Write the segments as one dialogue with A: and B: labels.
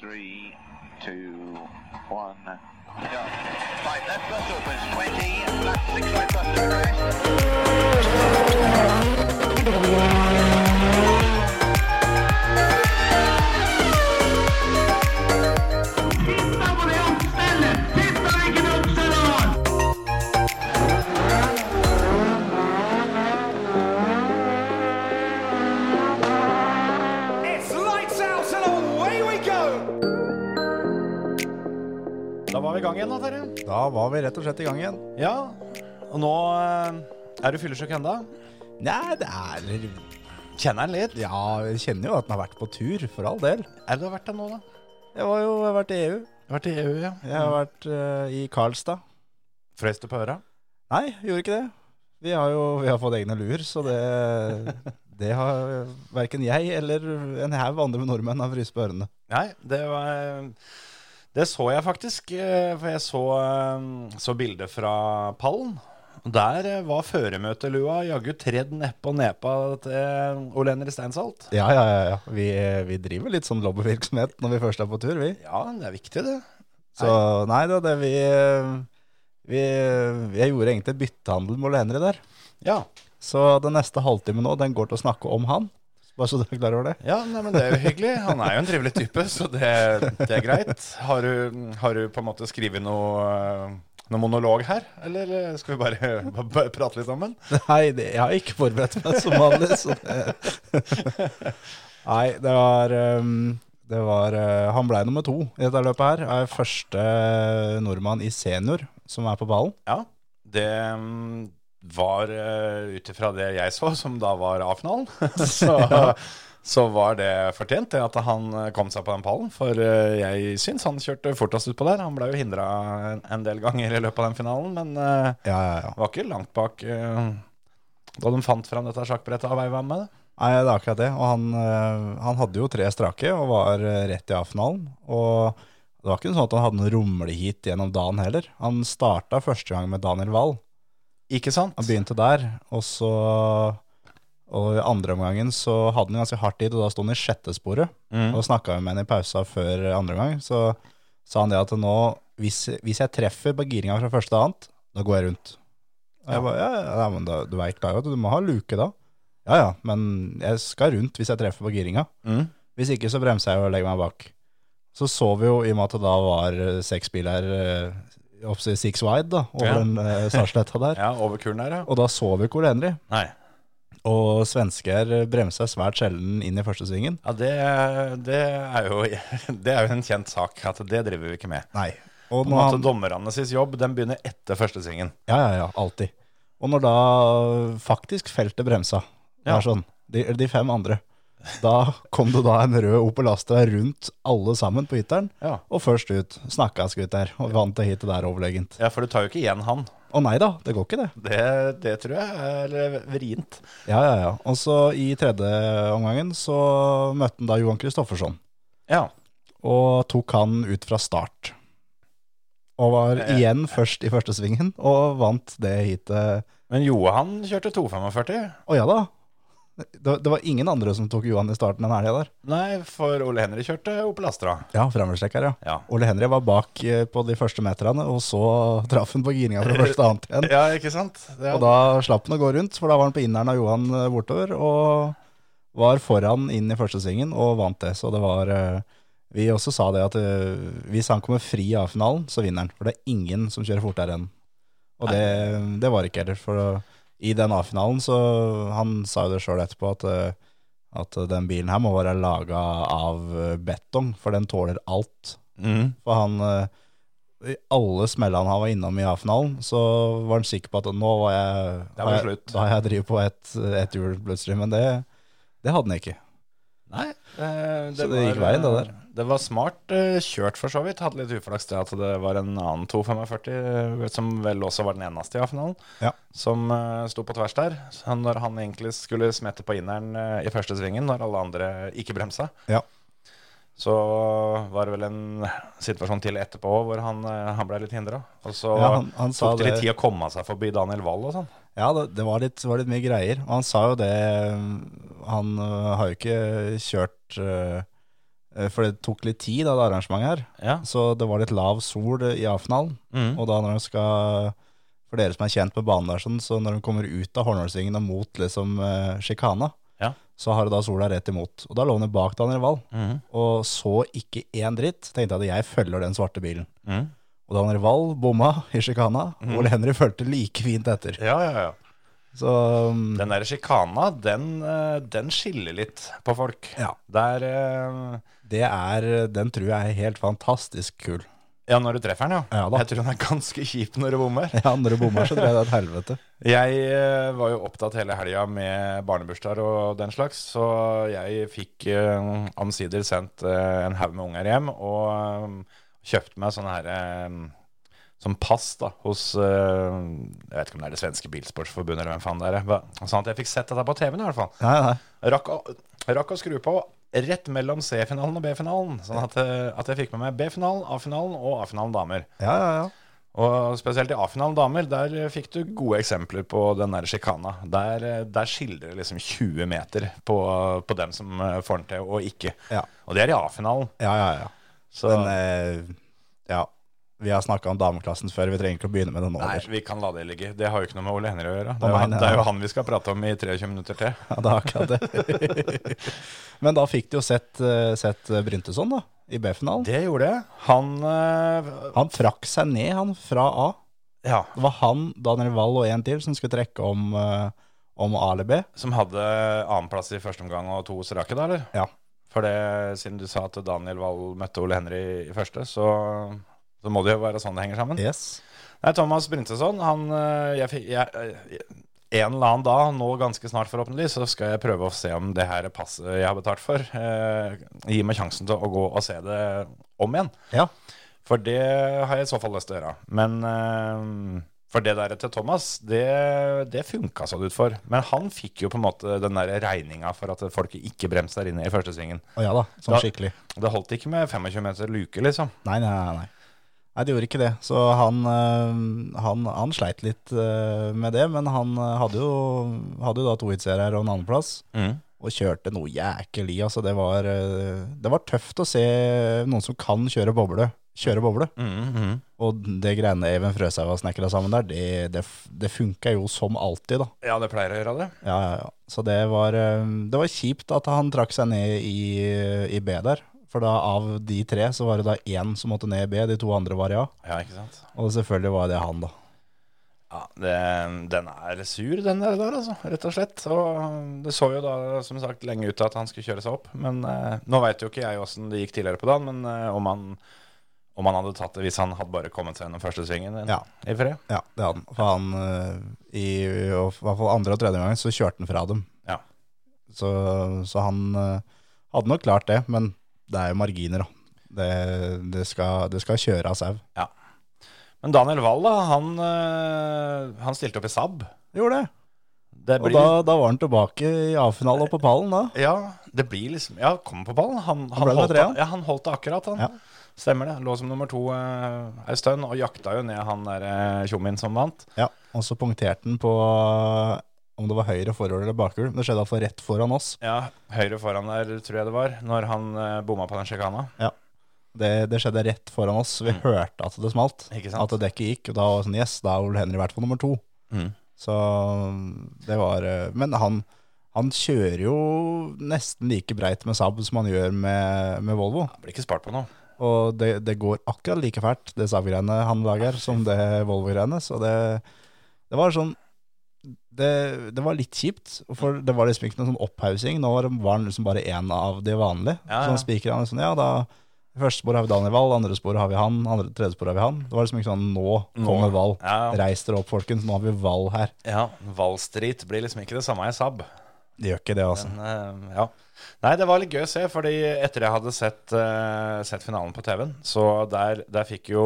A: three, two, one, go. Right, left bus opens 20, left six right bus to arrest.
B: It's lights out and away we go! Da var vi i gang igjen, da, Terje.
C: Da var vi rett og slett i gang igjen.
B: Ja. Og nå eh, er du fyllesyk ennå.
C: Nei, det er
B: Kjenner den litt.
C: Ja, jeg kjenner jo at den har vært på tur, for all del.
B: Er det du har vært der nå, da?
C: Jeg var jo jeg har vært i EU.
B: Vært i EU, ja.
C: Jeg har vært eh, i Karlstad.
B: Frøs du på øra?
C: Nei, gjorde ikke det. Vi har jo vi har fått egne luer, så det, det har verken jeg eller en haug andre nordmenn har fryst på ørene.
B: Nei, det var Det så jeg faktisk. eh, For jeg så, eh, så bildet fra pallen. Og Der eh, var føremøtelua jaggu tredd nedpå nepa til Ole Henri Steinsalt.
C: Ja, ja, ja. ja. Vi, vi driver litt sånn lobbyvirksomhet når vi først er på tur, vi.
B: Ja, det er viktig, det.
C: Så nei da, det vi, eh, vi Jeg gjorde egentlig byttehandel med Ole Henry der.
B: Ja,
C: Så den neste halvtimen nå, den går til å snakke om han. Bare så du er klar over det.
B: Ja, nei, men det er jo hyggelig. Han er jo en trivelig type, så det, det er greit. Har du, har du på en måte skrevet noe, eh, noe monolog her, eller eh, skal vi bare, bare prate litt sammen?
C: Nei, det, jeg har ikke forberedt meg som vanlig, så det Nei, det var, ehm, det var eh, Han blei nummer to i dette løpet her. Er første uh, nordmann i senior som er på ballen.
B: Ja, det mm, var eh, ut ifra det jeg så, som da var A-finalen, så, så var det fortjent det at han eh, kom seg på den pallen. For eh, jeg syns han kjørte fortest utpå der. Han ble jo hindra en, en del ganger i løpet av den finalen, men eh,
C: Ja, ja, ja.
B: var ikke langt bak eh, da de fant fram dette sjakkbrettet av Eivam med det.
C: Nei, det er akkurat det. Og han, eh, han hadde jo tre strake og var eh, rett i A-finalen. Og det var ikke sånn at han hadde noen rumlehit gjennom dagen heller. Han starta første gang med Daniel Wahl.
B: Ikke sant?
C: Han begynte der, og så Og i andre omgangen så hadde han ganske hardt tid, og da sto han i sjette sporet.
B: Mhm. Mm.
C: Og snakka med henne i pausa før andre omgang. Så sa han det at nå, hvis, hvis jeg treffer på giringa fra første til annet, da går jeg rundt. Og jeg bare, ja, ja, men da, du veit klar over at du må ha luke da. Ja ja, men jeg skal rundt hvis jeg treffer på giringa.
B: Mm.
C: Hvis ikke så bremser jeg og legger meg bak. Så så vi jo, i og med at det da var eh, seks biler eh, oppsi six wide da, over
B: Ja.
C: den eh, startsletta der.
B: Ja, over kulen der, ja.
C: Og da så vi ikke Ole Henry.
B: Nei.
C: Og svensker bremsa svært sjelden inn i første svingen.
B: Ja, det, det, er jo, det er jo en kjent sak at det driver vi ikke med.
C: Nei. Og
B: På
C: når
B: en måte
C: han,
B: Dommerne sitt jobb den begynner etter første svingen.
C: ja, ja, ja, alltid. Og når da faktisk feltet bremsa, det
B: Ja.
C: er sånn, de, eller de fem andre, da kom det da en rød Opel Astra rundt alle sammen på hytteren,
B: Ja.
C: og først ut snakka skutt der, og vant det hitet der overlegent.
B: Ja, For du tar jo ikke igjen han.
C: Å nei da, det går ikke det.
B: Det, det tror jeg er eh, vrient.
C: Ja, ja, ja. Og så i tredje omgangen så møtte han da Johan Kristoffersson.
B: Ja.
C: og tok han ut fra start. Og var
B: Eh.
C: igjen først i første svingen, og vant det heatet.
B: Men Johan kjørte 2,45.
C: Å ja da. Det, det var ingen andre som tok Johan i starten den helga der.
B: Nei, for Ole Henry kjørte Opel Astra.
C: Ja, framhjulstrekker, ja.
B: Ja.
C: Ole Henry var bak eh, på de første meterne, og så traff han på giringa fra første til annet igjen.
B: Ja, ikke sant? Ja.
C: Og da slapp han å gå rundt, for da var han på inneren av Johan eh, bortover, og var foran inn i første svingen og vant det. Så det var eh, Vi også sa det at eh, hvis han kommer fri i A-finalen, så vinner han. For det er ingen som kjører fortere enn Og det, det var det ikke heller. For i den A-finalen, så Han sa jo det sjøl etterpå, at, eh, at den bilen her må være laga av eh, betong, for den tåler alt.
B: mm.
C: For han eh, I alle smellene han var innom i A-finalen, så var han sikker på at nå var jeg
B: Det
C: har
B: var
C: jeg-
B: slutt.
C: Da har jeg drevet på ett et hjul plutselig. Men det, det hadde han ikke.
B: Nei, eh,
C: Så det gikk veien, det der.
B: Det var smart eh, kjørt for så vidt. Hadde litt uflaks til at det var en annen 245, eh, som vel også var den eneste i A-finalen,
C: Ja.
B: som eh, sto på tvers der. Så han- når han egentlig skulle smette på inneren eh, i første svingen, når alle andre ikke bremsa,
C: Ja.
B: så var det vel en situasjon til etterpå hvor han, eh, han ble litt hindra. Og så
C: Ja, han- han sa
B: tok det litt
C: det-
B: tid å komme seg forbi Daniel Wall og sånn.
C: Ja, det, det var, litt, var litt mye greier. eh, Og han sa jo det Han øh, har jo ikke kjørt øh, Eh, For det tok litt tid, da, det arrangementet her.
B: Ja.
C: Så det var litt lav sol eh, i A-finalen.
B: Mm.
C: Og da når de skal For dere som er kjent med banen der, sånn, så når de kommer ut av Hornålsringen og mot liksom eh, sjikana,
B: Ja.
C: så har du da sola rett imot. Og da lå han bak Daniel Wall
B: Mm.
C: og så ikke én dritt. Tenkte jeg at jeg følger den svarte bilen.
B: Mm.
C: Og Daniel Wall bomma i sjikana.
B: Mhm.
C: Ole Henry fulgte like fint etter.
B: ja, ja, ja.
C: Så mm,
B: Den der sjikana, den, eh, den skiller litt på folk.
C: Ja.
B: Der eh,
C: det er, den tror jeg er helt fantastisk kul.
B: Ja, når du treffer den, ja.
C: Ja da.
B: Jeg tror den er ganske kjip når du bommer.
C: Ja, når du bommer, så tror jeg det er et helvete.
B: Jeg eh, var jo opptatt hele helga med barnebursdager og den slags, så jeg fikk eh, omsider sendt eh, en haug med unger hjem, og eh, kjøpte meg sånne her eh, som pass da, hos eh, Jeg vet ikke om det er det svenske bilsportsforbundet eller hvem faen det er. hva- Sånn at jeg fikk sett dette på TV-en i hvert fall.
C: Nei, nei.
B: Rakk å, rakk å skru på rett mellom C-finalen og B-finalen, sånn at, eh, at jeg fikk med meg B-finalen, A-finalen og A-finalen damer.
C: Ja, ja, ja.
B: Og spesielt i A-finalen damer, der eh, fikk du gode eksempler på den der sjikana. Der, eh, der skildrer det liksom 20 meter på, på dem som eh, får den til, og ikke.
C: Ja.
B: Og det er i A-finalen.
C: ja, ja, ja.
B: Så
C: Men eh, ja, vi har snakka om dameklassen før. Vi trenger ikke å begynne med det nå.
B: nei,
C: eller?
B: vi kan la det ligge. Det har jo ikke noe med Ole Henry å gjøre.
C: Å,
B: Det er,
C: nei,
B: jo,
C: nei,
B: det er
C: nei.
B: jo han vi skal prate om i 23 minutter til.
C: Ja, det er akkurat det. Men da fikk du jo sett, eh, sett Bryntesson, da, i B-finalen.
B: Det gjorde jeg. Han eh,
C: Han trakk seg ned, han, fra A.
B: ja,
C: Det var han, Daniel Wall og en til som skulle trekke om, eh, om A eller B.
B: som hadde annenplass i første omgang og to strake, da, eller?
C: Ja.
B: For det, siden du sa at Daniel Wall møtte Ole Henry i første, så, så må det jo være sånn det henger sammen.
C: Yes.
B: Nei, Thomas Bryntesson, han øh, jeg, fikk- jeg, øh, En eller annen dag, nå ganske snart forhåpentlig, så skal jeg prøve å se om det her er passet jeg har betalt for. Eh, gi meg sjansen til å gå og se det om igjen.
C: Ja.
B: For det har jeg i så fall lyst til å gjøre. Men eh, for det der til Thomas, det, det funka så det ut for. Men han fikk jo på en måte den der regninga for at folk ikke bremsa der inne i første svingen.
C: Å ja da, sånn
B: Da-
C: skikkelig.
B: Det holdt ikke med 25 meter luke, liksom.
C: Nei, nei, nei. nei. Nei, det gjorde ikke det. Så han, eh, han, han sleit litt eh, med det, men han eh, hadde jo, hadde jo da to hitseier her og en andreplass.
B: Mm.
C: og kjørte noe jækelig. Altså, det, var, eh, det var tøft å se noen som kan kjøre boble. Kjøre boble.
B: Mm, mm.
C: Og det greiene Even Frøshaug har snekra sammen der, det, det, det funka jo som alltid, da.
B: Ja, det pleier å gjøre det.
C: Ja, ja, ja. Så det var, eh, det var kjipt at han trakk seg ned i, i B der. For da av de tre, så var det da én som måtte ned i B, de to andre var i A.
B: Ja, ikke sant?
C: Og selvfølgelig var det han, da.
B: Ja, det, den er sur, den der, der, altså, rett og slett. Og det så jo da, som sagt, lenge ut til at han skulle kjøre seg opp. Men eh, nå veit jo ikke jeg åssen det gikk tidligere på dagen, men eh, om, han, om han hadde tatt det hvis han hadde bare kommet seg gjennom første svingen
C: Ja.
B: i fred.
C: Ja, det hadde han. For han eh, i, i hvert fall andre og tredje gangen så kjørte han fra dem.
B: Ja.
C: Så, så han eh, hadde nok klart det, men det er jo marginer, da. Det, det, skal, det skal kjøre av sau.
B: Men Daniel Wall, da, han, eh, han stilte opp i Saab.
C: Gjorde det.
B: Det
C: Og
B: blir,
C: da, da var han tilbake i A-finale og på pallen, da.
B: Ja, det blir liksom Ja, kom på ballen. Han, han,
C: ble nummer
B: holdt,
C: tre, han.
B: det- ja, han holdt det akkurat, han.
C: Ja.
B: Stemmer det. Lå som nummer to eh, ei stund, og jakta jo ned han der eh, tjommien som vant.
C: Ja. Og så punkterte han på eh, om det var høyre forhjul eller bakhjul. Det skjedde iallfall rett foran oss.
B: Ja, høyre foran der, tror jeg det var, når han eh, bomma på den sjekana.
C: Det, det skjedde rett foran oss. Vi hørte at det smalt.
B: Ikke sant?
C: At dekket gikk. Og da var det sånn Yes, da er Ole Henry i hvert fall nummer to.
B: Mm.
C: Så det var eh, Men han, han kjører jo nesten like breit med Saab som han gjør med, med Volvo.
B: Han blir ikke spart på noe.
C: Og det, det går akkurat like fælt, det Saab-greiene han lager, som det Volvo-greiene. Så det, det var sånn det, det var litt kjipt, for det var liksom ikke noen sånn opphaussing. Nå var var han liksom bare én av de vanlige.
B: Ja, ja.
C: Så han spiker han liksom, ja da Første spor har vi Daniel Wall, andre spor har vi han, andre, tredje spor har vi han. Det var liksom ikke sånn nå kommer Wall.
B: Ja,
C: Reis dere opp, folkens, nå har vi Wall her.
B: ja Wallstreet blir liksom ikke det samme i Saab.
C: Det gjør ikke det, altså.
B: Men, eh, ja. Nei, det var litt gøy å se, fordi etter jeg hadde sett, eh, sett finalen på TV-en, så der, der fikk jo,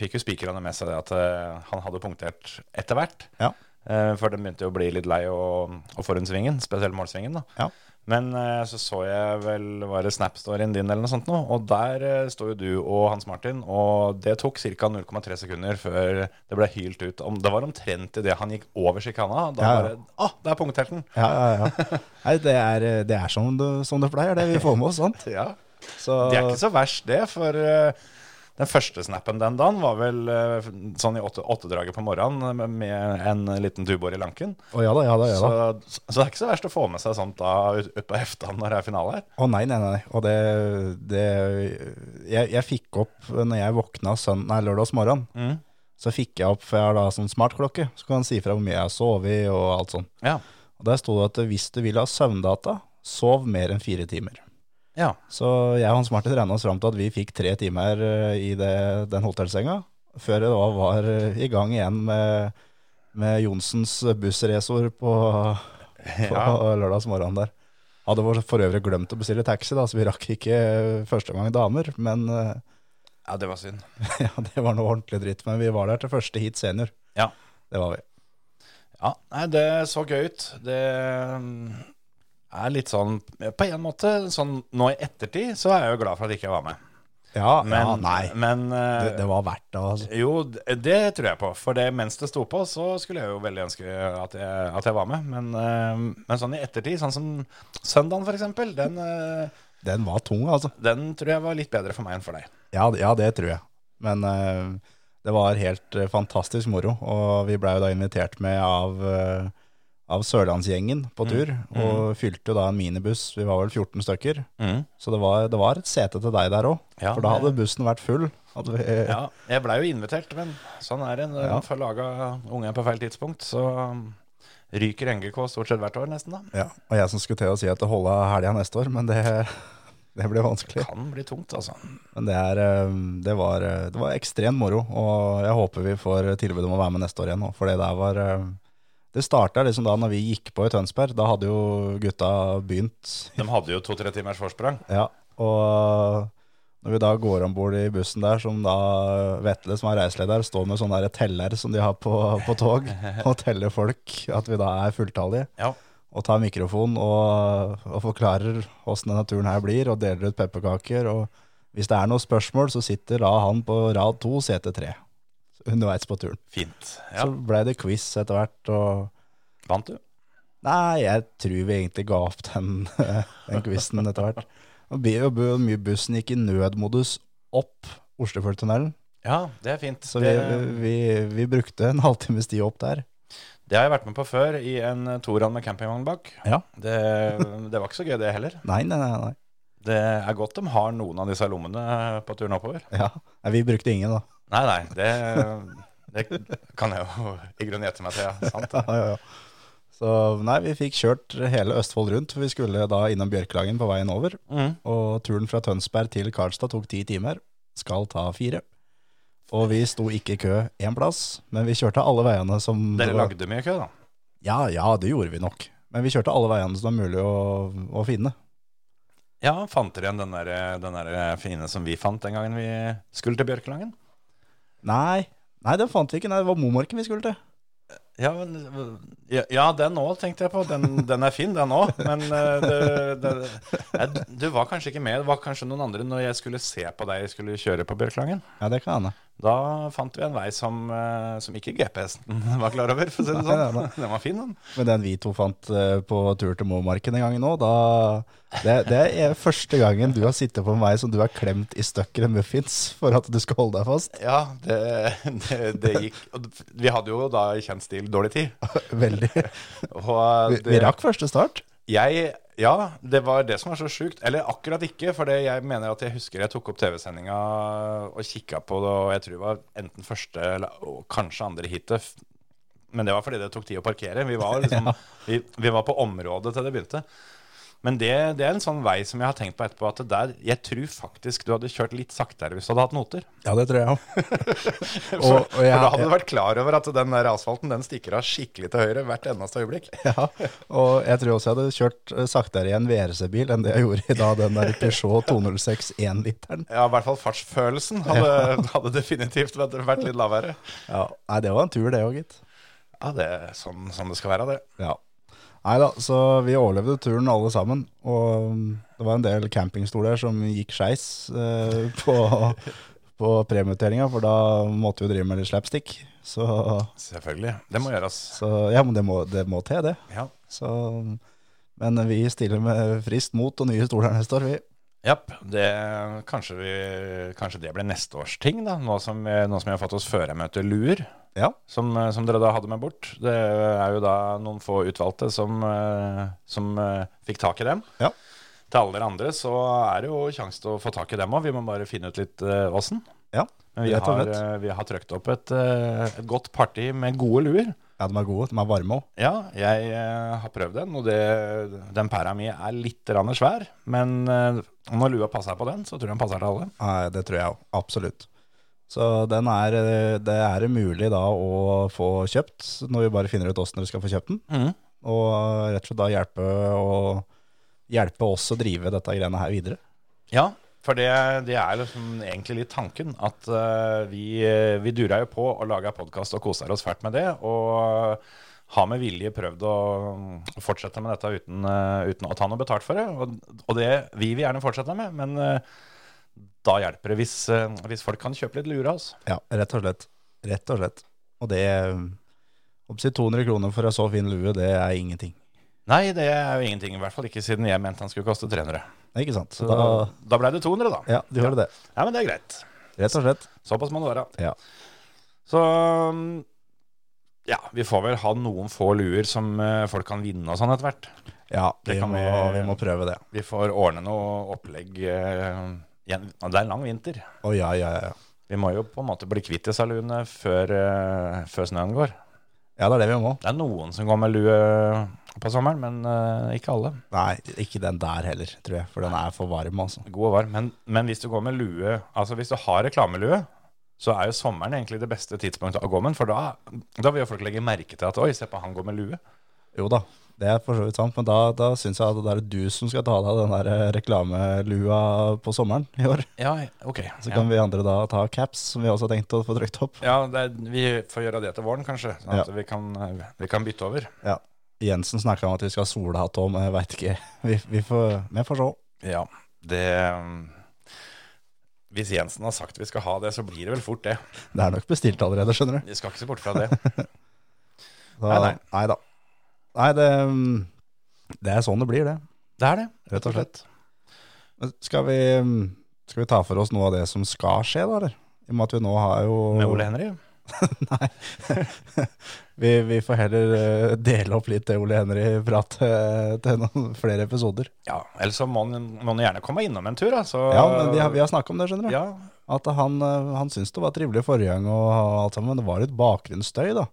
B: fikk jo spikerne med seg det at eh, han hadde punktert etter hvert.
C: Ja.
B: Eh, for de begynte jo å bli litt lei og, og foran svingen, spesielt målsvingen. da.
C: Ja.
B: Men eh, så så jeg vel var det Snap-storyen din eller noe sånt nå, og der eh, sto jo du og Hans Martin, og det tok ca. 0,3 sekunder før det ble hylt ut. Om, det var omtrent idet han gikk over sjikana. Da
C: Ja, ja.
B: var det Å, ah, der punkterte han!
C: eh, Ja, ja, ja. Nei, det er, det er som, det, som det pleier, det vi får med oss, sant?
B: Ja.
C: Så
B: Det er ikke så verst, det. For eh, den første snappen den dagen var vel eh, sånn i åtte- åttedraget på morgenen med- med en liten tubor i lanken.
C: Å ja da, ja da, ja da.
B: Så, så det er ikke så verst å få med seg sånt da ut- utpå hefta når det er finale her.
C: Å nei, nei, nei. Og det, det jeg, jeg fikk opp når jeg våkna søn, nei, lørdags morgen.
B: Mm.
C: Så fikk jeg opp, for jeg har da sånn smartklokke, så kan den si fra hvor mye jeg har sovet og alt sånt.
B: Ja.
C: Og der sto det at hvis du vil ha søvndata, sov mer enn fire timer.
B: Ja.
C: Så jeg og Hans Martin regna oss fram til at vi fikk tre timer eh, i det, den hotellsenga, før jeg da var eh, i gang igjen med, med Johnsens bussresor på, på lørdags morgen der. Hadde vår for øvrig glemt å bestille taxi, da, så vi rakk ikke eh, første gang damer. Men eh,
B: ja, det var synd.
C: ja, det var noe ordentlig dritt. Men vi var der til første hit senior.
B: Ja.
C: Det var vi.
B: Ja, nei, det så gøy ut. Det mm, er litt sånn På en måte, sånn nå i ettertid, så er jeg jo glad for at jeg ikke var med.
C: Ja,
B: Men,
C: ja nei.
B: men
C: Det,
B: eh,
C: det var verdt det, altså.
B: Jo, det det tror jeg på. For det, mens det sto på, så skulle jeg jo veldig ønske at jeg, at jeg var med. Men, eh, men sånn i ettertid, sånn som søndagen for eksempel, den, eh,
C: Den var tung, altså.
B: den tror jeg var litt bedre for meg enn for deg.
C: Ja, ja det tror jeg. Men eh, det var helt eh, fantastisk moro. Og vi blei jo da invitert med av, eh, av Sørlandsgjengen
B: Mm.
C: på tur. Og fylte jo da en minibuss. Vi var vel 14 stykker. Så det var, det var et sete til deg der òg.
B: Ja,
C: for da hadde
B: det-
C: bussen vært full. Hadde vi,
B: Ja, jeg blei jo invitert, men sånn er det. Når
C: Ja.
B: man får laga ungen på feil tidspunkt, så um, ryker NGK stort sett hvert år, nesten, da.
C: Ja, Og jeg som skulle til å si at det holda helga neste år, men det, det ble vanskelig.
B: Kan bli tungt, altså.
C: Men det, er, eh, det, var, eh, det var ekstremt moro, og jeg håper vi får tilbud om å være med neste år igjen. nå, For det der var eh, Det starta liksom da når vi gikk på i Tønsberg. Da hadde jo gutta begynt.
B: De hadde jo to-tre timers forsprang.
C: Ja, Og når vi da går om bord i bussen der, som da Vetle, som er reiseleder, står med sånn der teller som de har på, på tog, og teller folk, at vi da er fulltallige.
B: Ja.
C: Og tar mikrofonen og, og forklarer åssen denne turen her blir, og deler ut pepperkaker. Og hvis det er noen spørsmål, så sitter da han på rad to, sete tre. Underveis på turen.
B: Fint. Ja.
C: Så blei det quiz etter hvert, og
B: Vant du?
C: Nei, jeg tror vi egentlig ga opp den, den quizen etter hvert. Og bi- og bu- mye bussen gikk i nødmodus opp Oslofjordtunnelen.
B: Ja, det er fint.
C: Så vi,
B: det,
C: vi, vi brukte en halvtimes tid opp der.
B: det har jeg vært med på før, i en Toran med campingvogn bak.
C: Ja.
B: Det, det var ikke så gøy, det heller.
C: Nei, nei, nei. nei.
B: Det er godt de har noen av disse lommene på turen oppover.
C: Ja. nei vi brukte ingen, da.
B: Nei, nei, det, det kan jeg jo i grunnen gjette meg til. Ja. Sant?
C: Ja, ja, ja. Så nei, vi fikk kjørt hele Østfold rundt, for vi skulle da innom Bjørkelangen på veien over.
B: Mm.
C: Og turen fra Tønsberg til Karlstad tok ti timer, skal ta fire. Og vi sto ikke i kø én plass, men vi kjørte alle veiene som det
B: Dere
C: var-
B: lagde mye kø, da.
C: Ja, ja, det gjorde vi nok. Men vi kjørte alle veiene som det var mulig å, å finne.
B: Ja, fant dere igjen den der, den der fine som vi fant den gangen vi skulle til Bjørkelangen?
C: Nei, nei, den fant vi ikke. Nei, det var Momorken vi skulle til.
B: Ja, men, ja, ja den òg, tenkte jeg på. Den, den er fin, den òg. Men eh, det, det, jeg, du var kanskje ikke med. Det var kanskje noen andre når jeg skulle se på deg skulle kjøre på Bjørkelangen.
C: Ja, det kan hende.
B: Da fant vi en vei som, eh, som ikke GPS-en var klar over, for å si det
C: Nei, nei,
B: sånn. Den var fin, den.
C: Men den vi to fant eh, på tur til Momarken en gang nå, da det, det er første gangen du har sittet på en vei som du har klemt i støkker en muffins for at du skal holde deg fast.
B: Ja, det, det, det gikk. Og Vi hadde jo da i kjent stil dårlig tid.
C: Veldig.
B: Og
C: Vi, vi rakk første start.
B: Jeg, ja, det var det som var så sjukt. Eller akkurat ikke, for det jeg mener at jeg husker jeg tok opp TV-sendinga og kikka på det, og jeg tror det var enten første eller og kanskje andre hitet. f- Men det var fordi det tok tid å parkere. Vi var, liksom, vi, vi var på området til det begynte. Men det, det er en sånn vei som jeg har tenkt på etterpå, at det der, jeg tror faktisk du hadde kjørt litt saktere hvis du hadde hatt noter.
C: Ja, det tror jeg òg.
B: For,
C: Og- og
B: for
C: jeg-
B: da hadde du vært klar over at den der asfalten den stikker av skikkelig til høyre hvert eneste øyeblikk.
C: Ja, og jeg tror også jeg hadde kjørt eh, saktere i en VRC-bil enn det jeg gjorde i da den der Peugeot 206 1-literen.
B: Ja, i hvert fall fartsfølelsen hadde, hadde definitivt vært, vært litt lavere.
C: Ja, nei, det var en tur det òg, gitt.
B: Ja, det er sånn, sånn det skal være, det.
C: Ja. Nei da, så vi overlevde turen alle sammen. Og um, det var en del campingstoler som gikk skeis eh, på, på premieutdelinga, for da måtte vi jo drive med litt slapstick. Så,
B: Selvfølgelig. Det må gjøres.
C: så ja, men det må, det må til, det.
B: Ja.
C: Så, men vi stiller med friskt mot og nye stoler neste år, vi.
B: Japp, det, kanskje, vi, kanskje det ble neste års ting, da. Nå som, vi- nå som vi har fått oss førermøte luer,
C: Ja.
B: som, eh, som dere da hadde med bort. Det er jo da noen få utvalgte som, eh, som eh, fikk tak i dem.
C: Ja.
B: Til alle dere andre så er det jo sjanse til å få tak i dem òg, vi må bare finne ut litt eh, åssen.
C: Ja,
B: Men vi
C: rett og
B: har,
C: slett.
B: eh, vi har trøkt opp et, eh, et godt parti med gode luer.
C: ja, de er gode. De er varme òg.
B: Ja, jeg eh, har prøvd den, og det, den pæra mi er litt rann svær. Men eh, når lua passer på den, så tror jeg den passer til alle.
C: Nei, det tror jeg òg. Absolutt. Så den er, eh, det er mulig da å få kjøpt, når vi bare finner ut åssen dere skal få kjøpt den.
B: Mm.
C: Og rett og slett da hjelpe, og, hjelpe oss å drive dette greiene her videre.
B: Ja, for det, det er liksom egentlig litt tanken. At eh, vi, eh, vi dura jo på og laga podkast og koser oss fælt med det. Og har med vilje prøvd å mm, fortsette med dette uten, eh, uten å ta noe betalt for det. Og, og det vi vil gjerne fortsette med, men eh, da hjelper det hvis, eh, hvis folk kan kjøpe litt lure av oss.
C: Ja, rett og slett. Rett og slett. Og det Oppsi 200 kroner for en så fin lue, det er ingenting.
B: Nei, det er jo ingenting. I hvert fall ikke siden jeg mente han skulle koste 300.
C: Ikke sant? Så
B: Så
C: da,
B: da, da ble det 200, da.
C: ja, du gjør det.
B: Ja, men det er greit.
C: Rett og slett.
B: Såpass må det være.
C: Ja.
B: Så um, ja, vi får vel ha noen få luer som eh, folk kan vinne og sånn etter hvert.
C: Ja,
B: Det
C: vi
B: kan
C: må,
B: vi-
C: vi må prøve det.
B: Vi får ordne noe opplegg eh, igjen. Og Det er en lang vinter.
C: Å ja, ja, ja.
B: Vi må jo på en måte bli kvitt disse luene før, eh, før snøen går.
C: Ja, det er det vi må.
B: Det er noen som går med lue på sommeren, men eh, ikke alle.
C: Nei, ikke den der heller, tror jeg. For den er for varm, altså.
B: God og varm. Men, men hvis du går med lue, altså hvis du har reklamelue, så er jo sommeren egentlig det beste tidspunktet å gå med den, for da, da vil jo folk legge merke til at oi, se på han går med lue.
C: Jo da, det er for så vidt sant, men da, da syns jeg at det er du som skal ta deg av den der eh, reklamelua på sommeren i år.
B: Ja, ok.
C: Så kan vi andre da ta caps, som vi også har tenkt å få trykt opp.
B: Ja, det er, vi får gjøre det til våren, kanskje. Sånn at vi, kan, vi kan bytte over.
C: Jensen snakka om at vi skal ha solhatt òg, men jeg veit ikke. Vi, vi får, vi får se.
B: Ja, det um, Hvis Jensen har sagt vi skal ha det, så blir det vel fort det.
C: Det er nok bestilt allerede, skjønner du.
B: Vi skal ikke se bort fra det.
C: Da,
B: Nei, nei.
C: nei da. Nei, det, mm, det er sånn det blir, det.
B: Det er det,
C: Rett og slett. Men skal vi, mm, skal vi ta for oss noe av det som skal skje, da, eller? I og med at vi nå har jo
B: Med Ole Henry.
C: Vi, vi får heller eh, dele opp litt det Ole Henry-prat eh, til noen flere episoder.
B: Ja, ellers så må han må han gjerne komme innom en tur, da. Så,
C: Ja, men vi har, vi har snakka om det, skjønner du.
B: ja,
C: At han, eh, han syntes det var trivelig forrige gang, og alt sammen, men det var litt bakgrunnsstøy, da.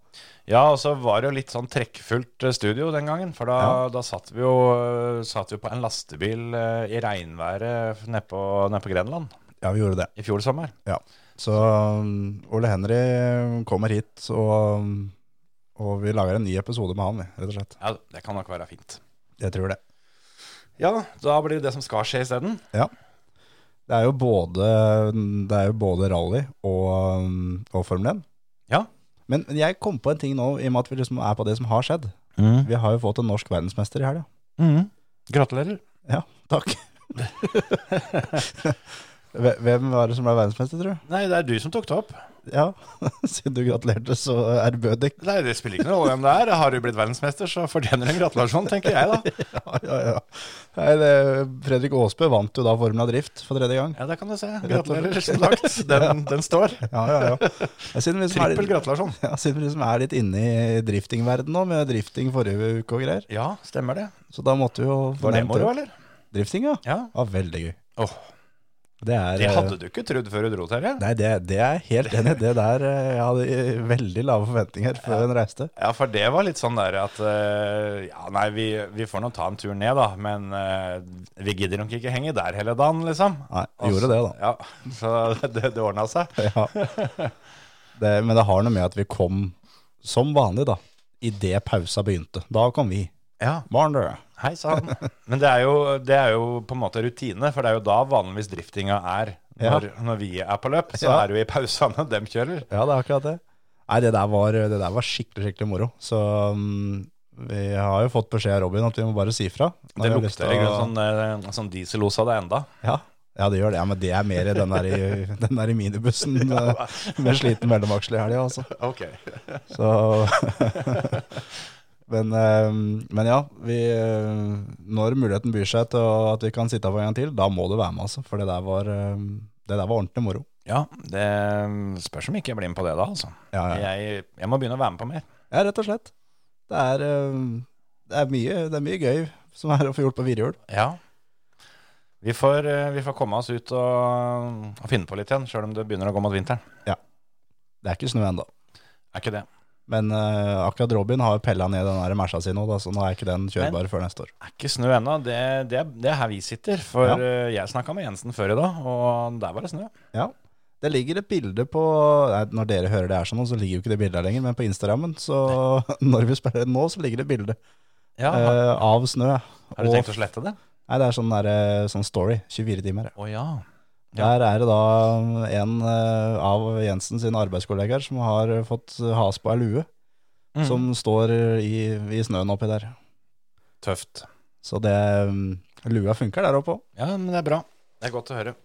B: Ja, og så var det jo litt sånn trekkfullt eh, studio den gangen. For da, da satt vi jo eh, satt vi på en lastebil eh, i regnværet nede på, ned på Grenland
C: Ja, vi gjorde det.
B: i fjor sommer.
C: Så um, Ole Henry kommer hit, og, um, og vi lager en ny episode med han, vi, rett og slett.
B: Ja, Det kan nok være fint.
C: Jeg tror det.
B: Ja, da blir det det som skal skje isteden.
C: Det er jo både, det er jo både rally og, um, og Formel 1.
B: Ja.
C: Men men jeg kom på en ting nå, i og med at vi liksom er på det som har skjedd.
B: Mm.
C: Vi har jo fått en norsk verdensmester i helga.
B: Gratulerer.
C: Ja, takk. Hve- Hvem var det som ble verdensmester, tror du?
B: Nei, det er du som tok det opp.
C: Ja, siden du gratulerte så ærbødig.
B: Nei, Det spiller ikke noe rolle hvem det er. Har du blitt verdensmester, så fortjener du en gratulasjon, tenker jeg da.
C: Ja, ja, ja. Nei, det, Fredrik Aasbø vant jo da Formel av drift for tredje gang.
B: Ja, det kan du se.
C: og slett.
B: Gratulerer, som sagt. Den, den står.
C: Ja, ja, ja. ja siden vi som er,
B: Trippel gratulasjon.
C: ja, siden vi som er litt inne i driftingverden nå, med drifting forrige uke og greier,
B: Ja, stemmer det.
C: så da måtte vi jo få
B: Var det
C: nevnt
B: moro, eller?
C: Drifting, ja.
B: Ja.
C: ja. Veldig gøy.
B: Åh,
C: Det er
B: det
C: eh,
B: hadde du ikke trodd før du dro, Terje.
C: Nei, det, det er jeg helt enig. i. Det der eh, Jeg hadde eh, veldig lave forventninger før hun reiste.
B: Ja, for det var litt sånn der at eh, Ja, nei, vi, vi får nå ta en tur ned, da. Men eh, vi gidder nok ikke henge der hele dagen, liksom.
C: Nei, gjorde det, da.
B: Ja, Så det, det ordna seg.
C: Ja. Det, men det har noe med at vi kom som vanlig, da. Idet pausa begynte. Da kom vi.
B: Ja,
C: Barn, dere.
B: Hei sann. Men det er, jo, det er jo på en måte rutine, for det er jo da vanligvis driftinga er. Når, når vi er på løp, så
C: Ja.
B: er det jo i pausene dem kjører.
C: Ja, det er akkurat det. Nei, det der var, det der var skikkelig, skikkelig moro. Så mm, vi har jo fått beskjed av Robin at vi må bare si fra. når
B: Det
C: vi har lyst til
B: lukter i
C: å-
B: grunnen sånn, eh, sånn dieselos av det enda.
C: ja. ja, det gjør det. Ja, men det er mer den der i, den der i minibussen eh, med, med sliten mellomaksel i helga, altså.
B: Ok.
C: Så Men, eh, men ja, vi, eh, når muligheten byr seg til å- at vi kan sitte på en gang til, da må du være med, altså. For det der var, eh, det der var ordentlig moro.
B: Ja, det spørs om ikke jeg blir med på det da, altså.
C: Ja, ja.
B: Jeg, jeg må begynne å være med på mer.
C: ja rett og slett. Det er, eh, det, er mye, det er mye gøy som er å få gjort på firehjul.
B: Ja. Vi får, eh, vi får komme oss ut og, og finne på litt igjen, sjøl om det begynner å gå mot vinteren.
C: Det er ikke snø ennå.
B: Er ikke det.
C: Men eh, akkurat Robin har pella ned den der Merca si nå, da, så nå er ikke den kjørbar før neste år.
B: Er ikke snø ennå. Det, det, er- det er her vi sitter. For
C: Ja.
B: eh, jeg snakka med Jensen før i dag, og der var det snø.
C: Ja. Det ligger et bilde på nei, Når dere hører det er sånn, så ligger jo ikke det bildet her lenger, men på Instagrammen så Når vi spiller nå, så ligger det et bilde
B: Ja, har,
C: eh, av snø.
B: har du
C: og-
B: tenkt å slette det?
C: Nei, det er sånn, der, eh, sånn story. 24 timer. ja.
B: Å ja. Ja.
C: Der er det da en eh, av Jensen sine arbeidskollegaer som har eh, fått has på ei lue,
B: Mm.
C: som står i, i snøen oppi der.
B: Tøft.
C: Så det mm, Lua funker der oppe òg.
B: Ja, men det er bra. Det er godt å høre.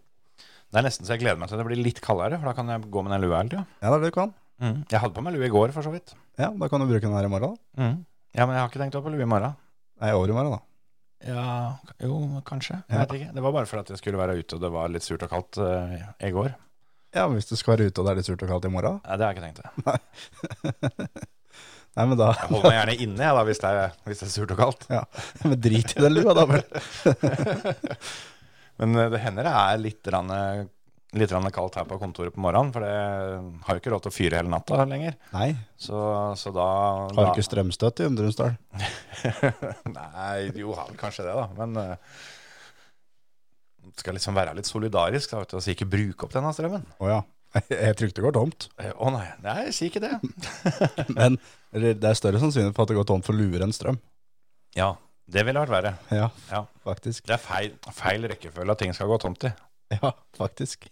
B: Det er nesten så jeg gleder meg til det blir litt kaldere, for da kan jeg gå med den lua hele tida.
C: Ja, det er det du kan.
B: Jeg hadde på meg lue i går, for så vidt.
C: Ja, Da kan du bruke den her i morgen, da.
B: Ja, men jeg har ikke tenkt å ha på lue i morgen.
C: Nei, i overmorgen, da.
B: Ja, jo, kanskje. Jeg
C: Ja.
B: vet ikke. Det var bare for at jeg skulle være ute, og det var litt surt og kaldt eh, i går.
C: Ja, men Hvis du skal være ute og det er litt surt og kaldt i morgen,
B: Nei, det har jeg ikke tenkt til.
C: Nei, men da
B: Jeg holder meg gjerne inne jeg, da, hvis det, er, hvis det er surt og kaldt.
C: ja. Men drit i den lua, da vel.
B: Men eh, det hender det er litt, rann, eh, litt rann kaldt her på kontoret på morgenen, for det har jo ikke råd til å fyre hele natta lenger.
C: Nei,
B: Så, så da
C: har du ikke strømstøtte i Undrumsdal?
B: Nei, jo, har vel kanskje det, da. Men eh, skal liksom være litt solidarisk da, vet du, og si ikke bruke opp denne strømmen.
C: Å ja. Jeg tror ikke det går tomt.
B: Eh, Å nei, nei, si ikke det.
C: Men det er større sannsynlighet for at det går tomt for luer enn strøm.
B: Ja, det ville vært verre.
C: Ja,
B: Ja.
C: faktisk.
B: Det er feil, feil rekkefølge at ting skal gå tomt i.
C: Ja, faktisk.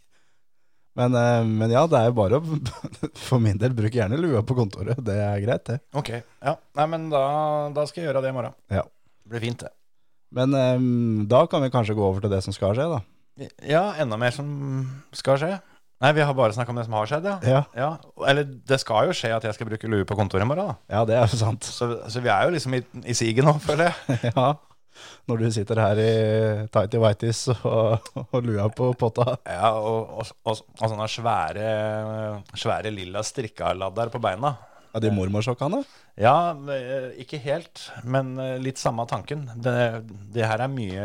C: Men, eh, men ja, det er jo bare å For min del, bruk gjerne lua på kontoret. Det er greit, det.
B: Ok, ja. Nei, men da, da skal jeg gjøre det i morgen.
C: Ja.
B: Det blir fint, det.
C: Men eh, da kan vi kanskje gå over til det som skal skje, da.
B: Ja, enda mer som skal skje. Nei, vi har bare snakka om det som har skjedd, ja.
C: Ja,
B: ja. Eller det skal jo skje at jeg skal bruke lue på kontoret i morgen, da.
C: ja det er jo sant.
B: Så, så vi er jo liksom i, i siget nå, føler jeg.
C: Ja. Når du sitter her i tighty whities og, og lua på potta.
B: Ja, og, og, og, og sånne svære, svære lilla strikkaladder på beina.
C: Ja, de mormorsokkene?
B: Ja, eh, ikke helt, men eh, litt samme tanken. Det, det her er mye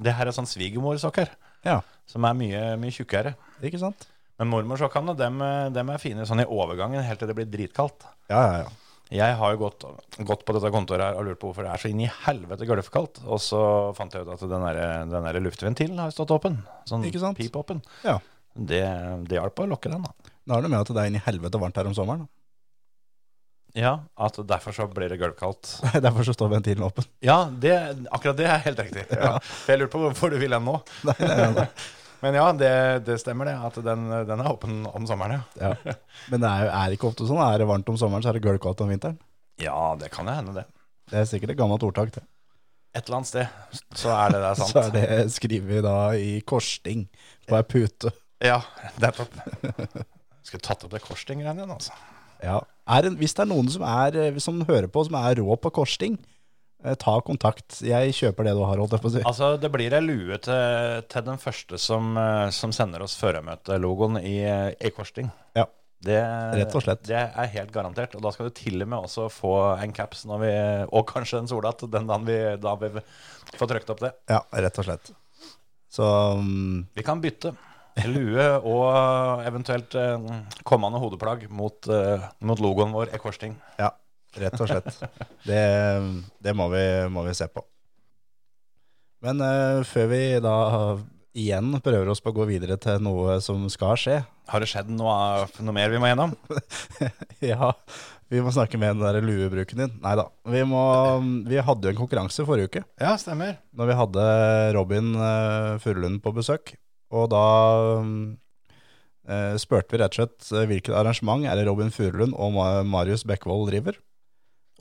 B: Det her er sånn svigermorsokker
C: Ja.
B: som er mye, mye tjukkere.
C: Ikke sant?
B: Men mormorsokkene, dem, eh, dem er fine sånn i overgangen helt til det blir dritkaldt.
C: Ja, ja, ja.
B: Jeg har jo gått, gått på dette kontoret her og lurt på hvorfor det er så inn i helvete gulvkaldt. Og så fant jeg ut at den der, den der luftventilen har jo stått åpen. Sånn
C: Ikke sant?
B: pipåpen.
C: Ja.
B: Det, det hjalp å lokke den, da.
C: Da er det med at det er inn i helvete varmt her om sommeren. da.
B: Ja, at derfor så blir det gulvkaldt.
C: Derfor så står ventilen åpen.
B: Ja, det, akkurat det er helt riktig. Ja. For Jeg lurte på hvorfor du vil den nå.
C: Nei, nei, nei.
B: Men ja, det, det stemmer det, at den, den er åpen om sommeren, ja.
C: Ja. Men det er jo er det ikke ofte sånn. Er det varmt om sommeren, så er det gulvkaldt om vinteren.
B: Ja, det kan jo hende det.
C: Det er sikkert et gammelt ordtak, det.
B: Et eller annet sted, så er det der sant.
C: Så er det skrevet da i korsting på ei pute.
B: Ja, nettopp. Skulle tatt opp det korstinggreiene igjen, altså.
C: Ja. Er en, hvis det er noen som, er, eh, som hører på, som er rå på korsting, eh, ta kontakt. Jeg kjøper det du har, holdt jeg på å si.
B: Altså, det blir ei lue til, til den første som, eh, som sender oss førermøtelogoen i, eh, i korsting.
C: Ja.
B: Det,
C: Rett og slett.
B: Det er helt garantert. Og da skal du til og med også få en caps, når vi, og kanskje en solhatt, den dagen vi, da vi får trykt opp det.
C: Ja, rett og slett. Så mm,
B: Vi kan bytte lue og eventuelt eh, kommende hodeplagg mot, eh, mot logoen vår i korsting.
C: ja, rett og slett. Det, det må, vi, må vi se på. Men eh, før vi da igjen prøver oss på å gå videre til noe som skal skje,
B: Har det skjedd noe, noe mer vi må gjennom?
C: Ja, vi må snakke med den der luebruken din. Nei da. Vi, må- vi hadde jo en konkurranse forrige uke,
B: Ja, stemmer.
C: når vi hadde Robin eh, Furulund på besøk. Og da eh, spurte vi rett og slett eh, hvilket arrangement er det Robin Furulund og Ma- Marius Bekkevold driver.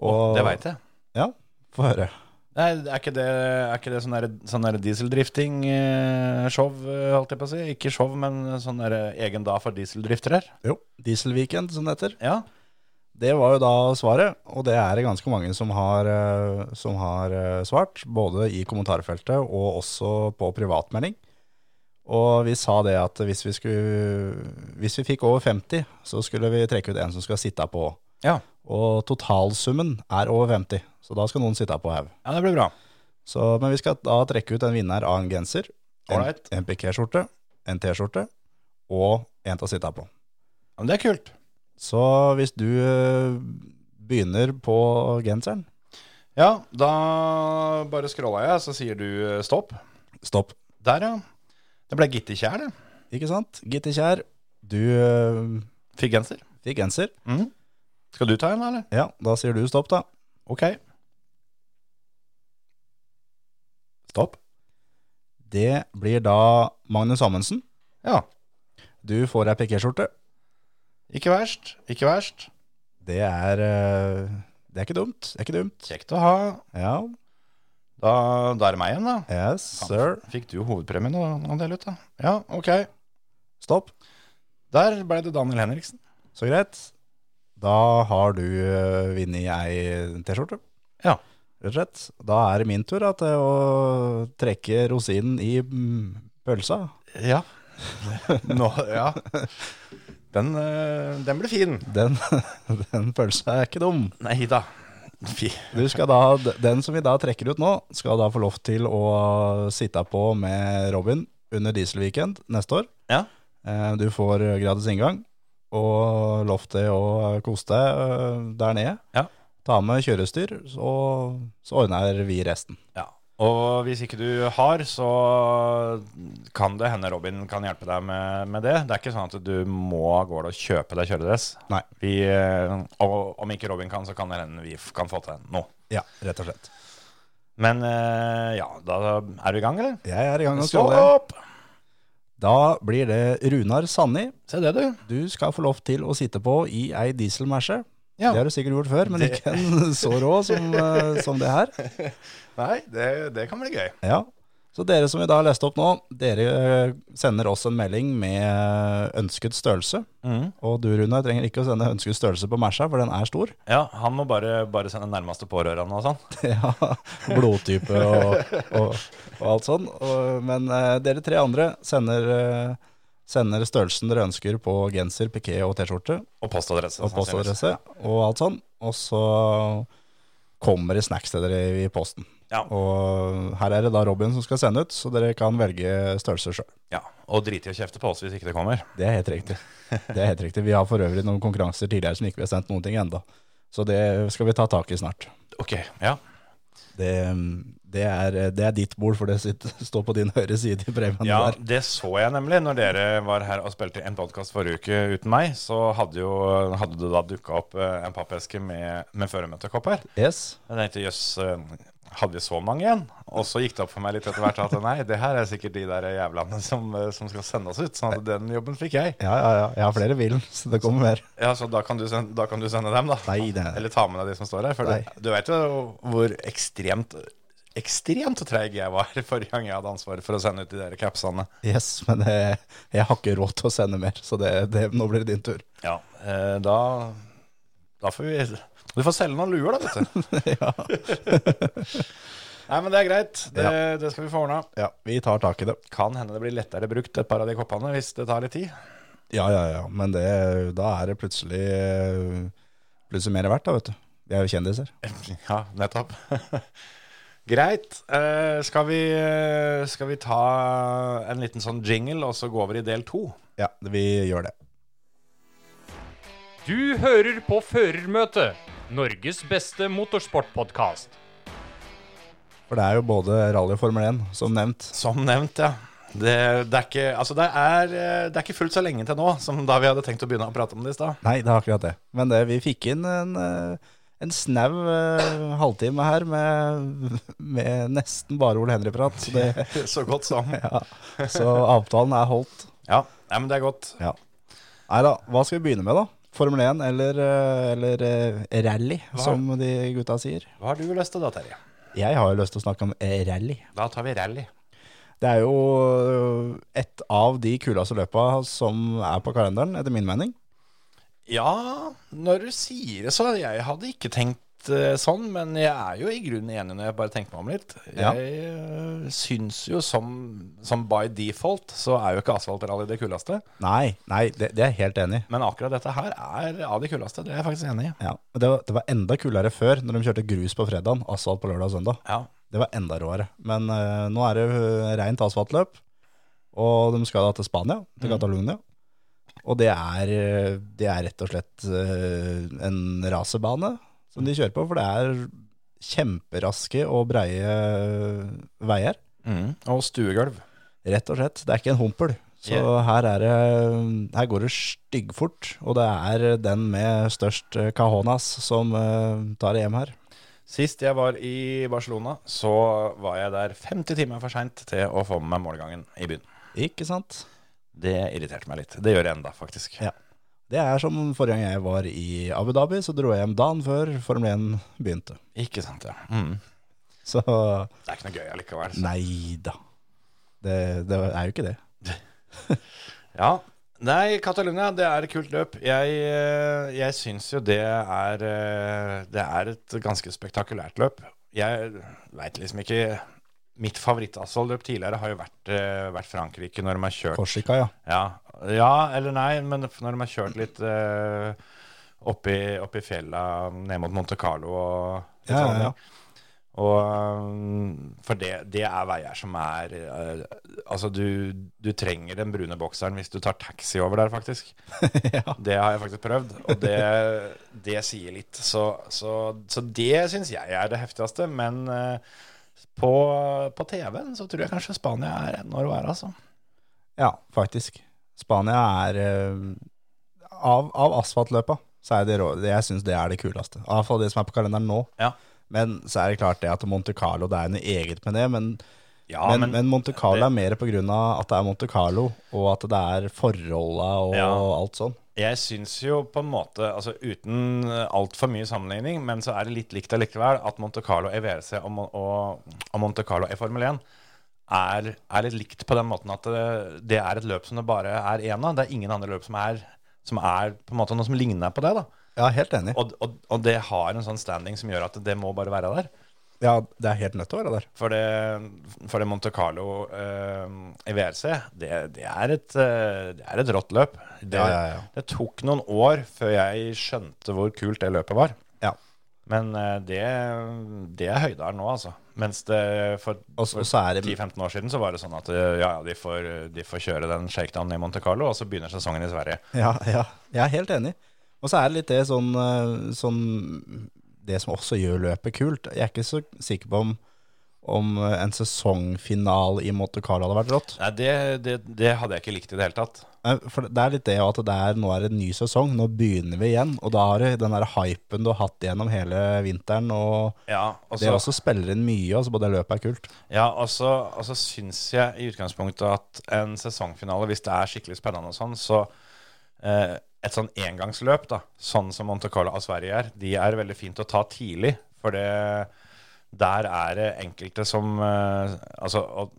B: Og, det veit jeg.
C: Få høre.
B: Nei, er ikke det, er ikke det sånn der, sånn der dieseldrifting-show, eh, holdt jeg på å si? Ikke eh, show, men sånn der egen dag for dieseldriftere?
C: Jo. Dieselweekend, som det heter.
B: Ja.
C: Det var jo da svaret, og det er det ganske mange som har, eh, som har eh, svart. Både i kommentarfeltet og også på privatmelding. Og vi sa det at hvis vi, skulle, hvis vi fikk over 50, så skulle vi trekke ut en som skal sitte på.
B: Ja.
C: Og totalsummen er over 50, så da skal noen sitte på haug.
B: ja, det blir bra.
C: Så- Men vi skal da trekke ut en vinner av en genser, en,
B: Ålreit.
C: en piké-skjorte, en T-skjorte og en til å sitte på.
B: Ja, men det er kult.
C: Så hvis du eh, begynner på genseren,
B: Ja, da bare scrolla jeg, så sier du eh, stopp.
C: stopp.
B: Der, ja. Det ble Gitte Kjær, det.
C: Ikke sant? Gitte Kjær, du eh,
B: Fikk genser.
C: fikk genser.
B: Mhm. Skal du ta en, eller?
C: Ja, da sier du stopp, da.
B: Ok. Stopp.
C: Det blir da Magnus Amundsen.
B: Ja.
C: Du får ei piké-skjorte.
B: Ikke verst. Ikke verst.
C: Det er eh, Det er ikke dumt. Det er ikke dumt.
B: Kjekt å ha.
C: Ja.
B: Da, da er det meg igjen, da.
C: Yes, sir.
B: Fikk du hovedpremien å å dele ut, da? Ja, ok.
C: Stopp.
B: Der ble det Daniel Henriksen.
C: Så greit. Da har du eh, vunnet ei T-skjorte.
B: Ja.
C: Rett og slett. Da er det min tur da, til å trekke rosinen i mm, pølsa.
B: Ja. Nå, ja. Den, eh, den ble fin.
C: Den, den pølsa er ikke dum.
B: Nei da. Fi.
C: Du skal da, den som vi da trekker ut nå, skal da få lov til å sitte på med Robin under Dieselweekend neste år.
B: Ja.
C: Eh, Du får gratis inngang og lov til å kose deg eh, der nede.
B: Ja.
C: Ta med kjørestyr, så, så ordner vi resten.
B: Ja. Og hvis ikke du har, så kan det hende Robin kan hjelpe deg med, med det. Det er ikke sånn at du må av gårde og kjøpe deg kjøredress.
C: Nei.
B: Vi, eh, og om ikke Robin kan, så kan det hende vi f- kan få til noe.
C: Ja, rett og slett.
B: Men eh, ja, da er du i gang, eller?
C: Jeg er i gang med å
B: Stå
C: skrolle.
B: opp!
C: Da blir det Runar Sanni.
B: Se det, du.
C: Du skal få lov til å sitte på i ei dieselmerse.
B: Ja.
C: Det har du sikkert gjort før, men
B: Det-
C: ikke en så rå som, eh, som det her.
B: Nei, det, det kan bli gøy.
C: Ja. Så dere som vi da leste opp nå, dere eh, sender oss en melding med eh, ønsket størrelse.
B: Mm.
C: Og du, Runar, trenger ikke å sende ønsket størrelse på Mersa, for den er stor.
B: Ja, han må bare, bare sende nærmeste pårørende og sånn.
C: ja, blodtype og, og, og alt sånn. Og, men eh, dere tre andre sender, eh, sender størrelsen dere ønsker på genser, piké og T-skjorte.
B: Og postadresse.
C: Og
B: sannsynligvis.
C: postadresse og alt sånn. Og så kommer det snacks til dere i posten.
B: Ja.
C: Og her er det da Robin som skal sende ut, så dere kan velge størrelse sjøl.
B: ja. Og drite i å kjefte på oss hvis ikke det kommer.
C: Det er helt riktig. Det er helt riktig. Vi har for øvrig noen konkurranser tidligere som ikke vi har sendt noen ting enda. Så det skal vi ta tak i snart.
B: Ok, ja.
C: Det, det, er, det er ditt bord, for det sitter, står på din høyre side i premien
B: Ja,
C: der.
B: det så jeg nemlig. Når dere var her og spilte en podkast forrige uke uten meg, så hadde, jo, hadde det da dukka opp eh, en pappeske med, med føremøtekopp her.
C: Yes.
B: Jeg tenkte jøss, eh, hadde vi så mange igjen? Og så gikk det opp for meg litt etter hvert at nei, det her er sikkert de der jævlene som, eh, som skal sende oss ut. Sånn at den jobben fikk jeg.
C: Ja, ja, ja. Jeg har flere vil, så det kommer mer.
B: Ja, Så da kan du sende, da kan du sende dem, da.
C: Nei, det er
B: Eller ta med deg de som står her. For
C: Nei.
B: du, du veit jo hvor ekstremt Ekstremt treig jeg var forrige gang jeg hadde ansvaret for å sende ut de der capsene.
C: Yes, men det, jeg har ikke råd til å sende mer, så det, det, nå blir det din tur.
B: Ja, eh, da, da får vi Du får selge noen luer, da, vet du.
C: ja.
B: Nei, men det er greit. Det, det skal vi få ordna.
C: ja, vi tar tak i det.
B: Kan hende det blir lettere brukt et par av de koppene hvis det tar litt tid.
C: Ja, ja, ja. Men det, da er det plutselig, plutselig mer verdt, da, vet du. Vi er jo kjendiser.
B: Ja, nettopp. greit. Eh, skal, vi, eh, skal vi ta en liten sånn jingle, og så gå over i del to?
C: Ja, vi gjør det.
D: Du hører på Førermøtet, Norges beste motorsportpodkast.
C: For det er jo både rally og Formel 1, som nevnt.
B: Som nevnt, ja. Det, det, er ikke, altså det, er, eh, det er ikke fullt så lenge til nå som da vi hadde tenkt å begynne å prate om det i stad.
C: Nei, det er akkurat det. Men det, vi fikk inn en, eh, en snau eh, halvtime her med, med nesten bare Ole Henry-prat. Så, det-
B: Så godt som.
C: ja. så avtalen er holdt.
B: Ja, Nei, men det er godt.
C: Ja. Nei da, hva skal vi begynne med, da? Formel 1 eller, eh, eller eh, rally, som de gutta sier.
B: Hva har du lyst til da, Terje?
C: Jeg har jo lyst til å snakke om eh, rally.
B: Da tar vi rally.
C: Det er jo eh, et av de kuleste løpa som er på kalenderen, etter min mening.
B: Ja, når du sier det så Jeg hadde ikke tenkt eh, sånn, men jeg er jo i grunnen enig når jeg bare tenker meg om litt.
C: Ja.
B: Jeg eh, syns jo som, som by default så er jo ikke asfaltrally det kuleste.
C: Nei, nei, det, det er jeg helt enig i.
B: Men akkurat dette her er av de kuleste. Det er jeg faktisk enig i.
C: Ja. Men Det, var- det var enda kulere før, når de kjørte grus på fredag, asfalt på lørdag og søndag.
B: Ja.
C: Det var enda råere. Men eh, nå er det eh, rent asfaltløp, og de skal da til Spania, til Catalonia. Og det er, eh, det er rett og slett eh, en rasebane som de kjører på, for det er kjemperaske og breie eh, veier.
B: Mm. Og stuegulv.
C: Rett og slett. Det er ikke en humpel. Så
B: Yeah.
C: her, er det, her går det styggfort, og det er den med størst eh, cajonas som eh, tar det hjem her.
B: Sist jeg var i Barcelona, så var jeg der 50 timer for seint til å få med meg målgangen i byen.
C: Ikke sant?
B: Det irriterte meg litt. Det gjør jeg enda, faktisk.
C: Ja. Det er som forrige gang jeg var i Abu Dhabi, så dro jeg hjem dagen før Formel 1 begynte.
B: Ikke sant, ja. Mm.
C: Så
B: Det er ikke noe gøy allikevel.
C: nei da. Det, det er jo ikke det.
B: Ja. Nei, Catalonia, det er et kult løp. Jeg, eh, jeg syns jo det er eh, Det er et ganske spektakulært løp. Jeg veit liksom ikke Mitt favorittasfaltløp tidligere har jo vært, eh, vært Frankrike, når de har kjørt
C: Korsika, ja.
B: Ja, ja eller nei, men når de har kjørt litt eh, oppi, oppi fjella ned mot Monte Carlo og
C: Ja, ja, ja.
B: Italia. Og, um, for det, det er veier som er eh, Altså, du, du trenger den brune bokseren hvis du tar taxi over der, faktisk.
C: ja.
B: Det har jeg faktisk prøvd, og det, det sier litt. Så, så, så det syns jeg er det heftigste. Men eh, på, på TV-en så tror jeg kanskje Spania er ennå å være, altså.
C: Ja, faktisk. Spania er eh, Av, av asfaltløpa så er det rå, det- jeg syns det er det kuleste. Iallfall det som er på kalenderen nå.
B: Ja.
C: Men så er det klart det at Monte Carlo, det er noe eget med det. Men,
B: Ja,
C: men, men Monte Carlo
B: det-
C: er mer på grunn av at det er Monte Carlo, og at det er forholda og
B: Ja.
C: alt sånn.
B: Jeg syns jo på en måte, altså uten altfor mye sammenligning, men så er det litt likt allikevel at Monte Carlo EVRC og, E Mon- og, og Monte Carlo i Formel 1 er, er litt likt på den måten at det, det er et løp som det bare er én av. Det er ingen andre løp som er, som er på en måte noe som ligner på det. da.
C: Ja, helt enig.
B: Og, og, og det har en sånn standing som gjør at det må bare være der.
C: Ja, det er helt nødt til å være der.
B: For det, for det Monte Carlo eh, i VRC, det, det, er et, eh, det er et rått løp. Det,
C: Ja, ja, ja.
B: det tok noen år før jeg skjønte hvor kult det løpet var.
C: Ja.
B: Men eh, det, det er høyderen nå, altså. Mens det for
C: Og så, og så er det
B: 10-15 år siden så var det sånn at eh, ja, ja, de får, de får kjøre den shakedownen i Monte Carlo, og så begynner sesongen i Sverige.
C: Ja, ja, jeg er helt enig. Og så er det litt det sånn, eh, sånn Det som også gjør løpet kult. Jeg er ikke så sikker på om, om eh, en sesongfinale i Monte Carlo hadde vært rått.
B: Nei, det, det, det hadde jeg ikke likt i det hele tatt.
C: Nei, For det er litt det at det er, nå er det en ny sesong, nå begynner vi igjen. Og da har du den der hypen du har hatt gjennom hele vinteren, og
B: Ja, og
C: det
B: så-
C: også spiller inn mye, altså både løpet er kult.
B: Ja, og så, og så syns jeg i utgangspunktet at en sesongfinale, hvis det er skikkelig spennende og sånn, så eh, et sånn engangsløp, da, sånn som Monte Carlo og Sverige er, de er veldig fint å ta tidlig. For det, der er det enkelte som eh, Altså og,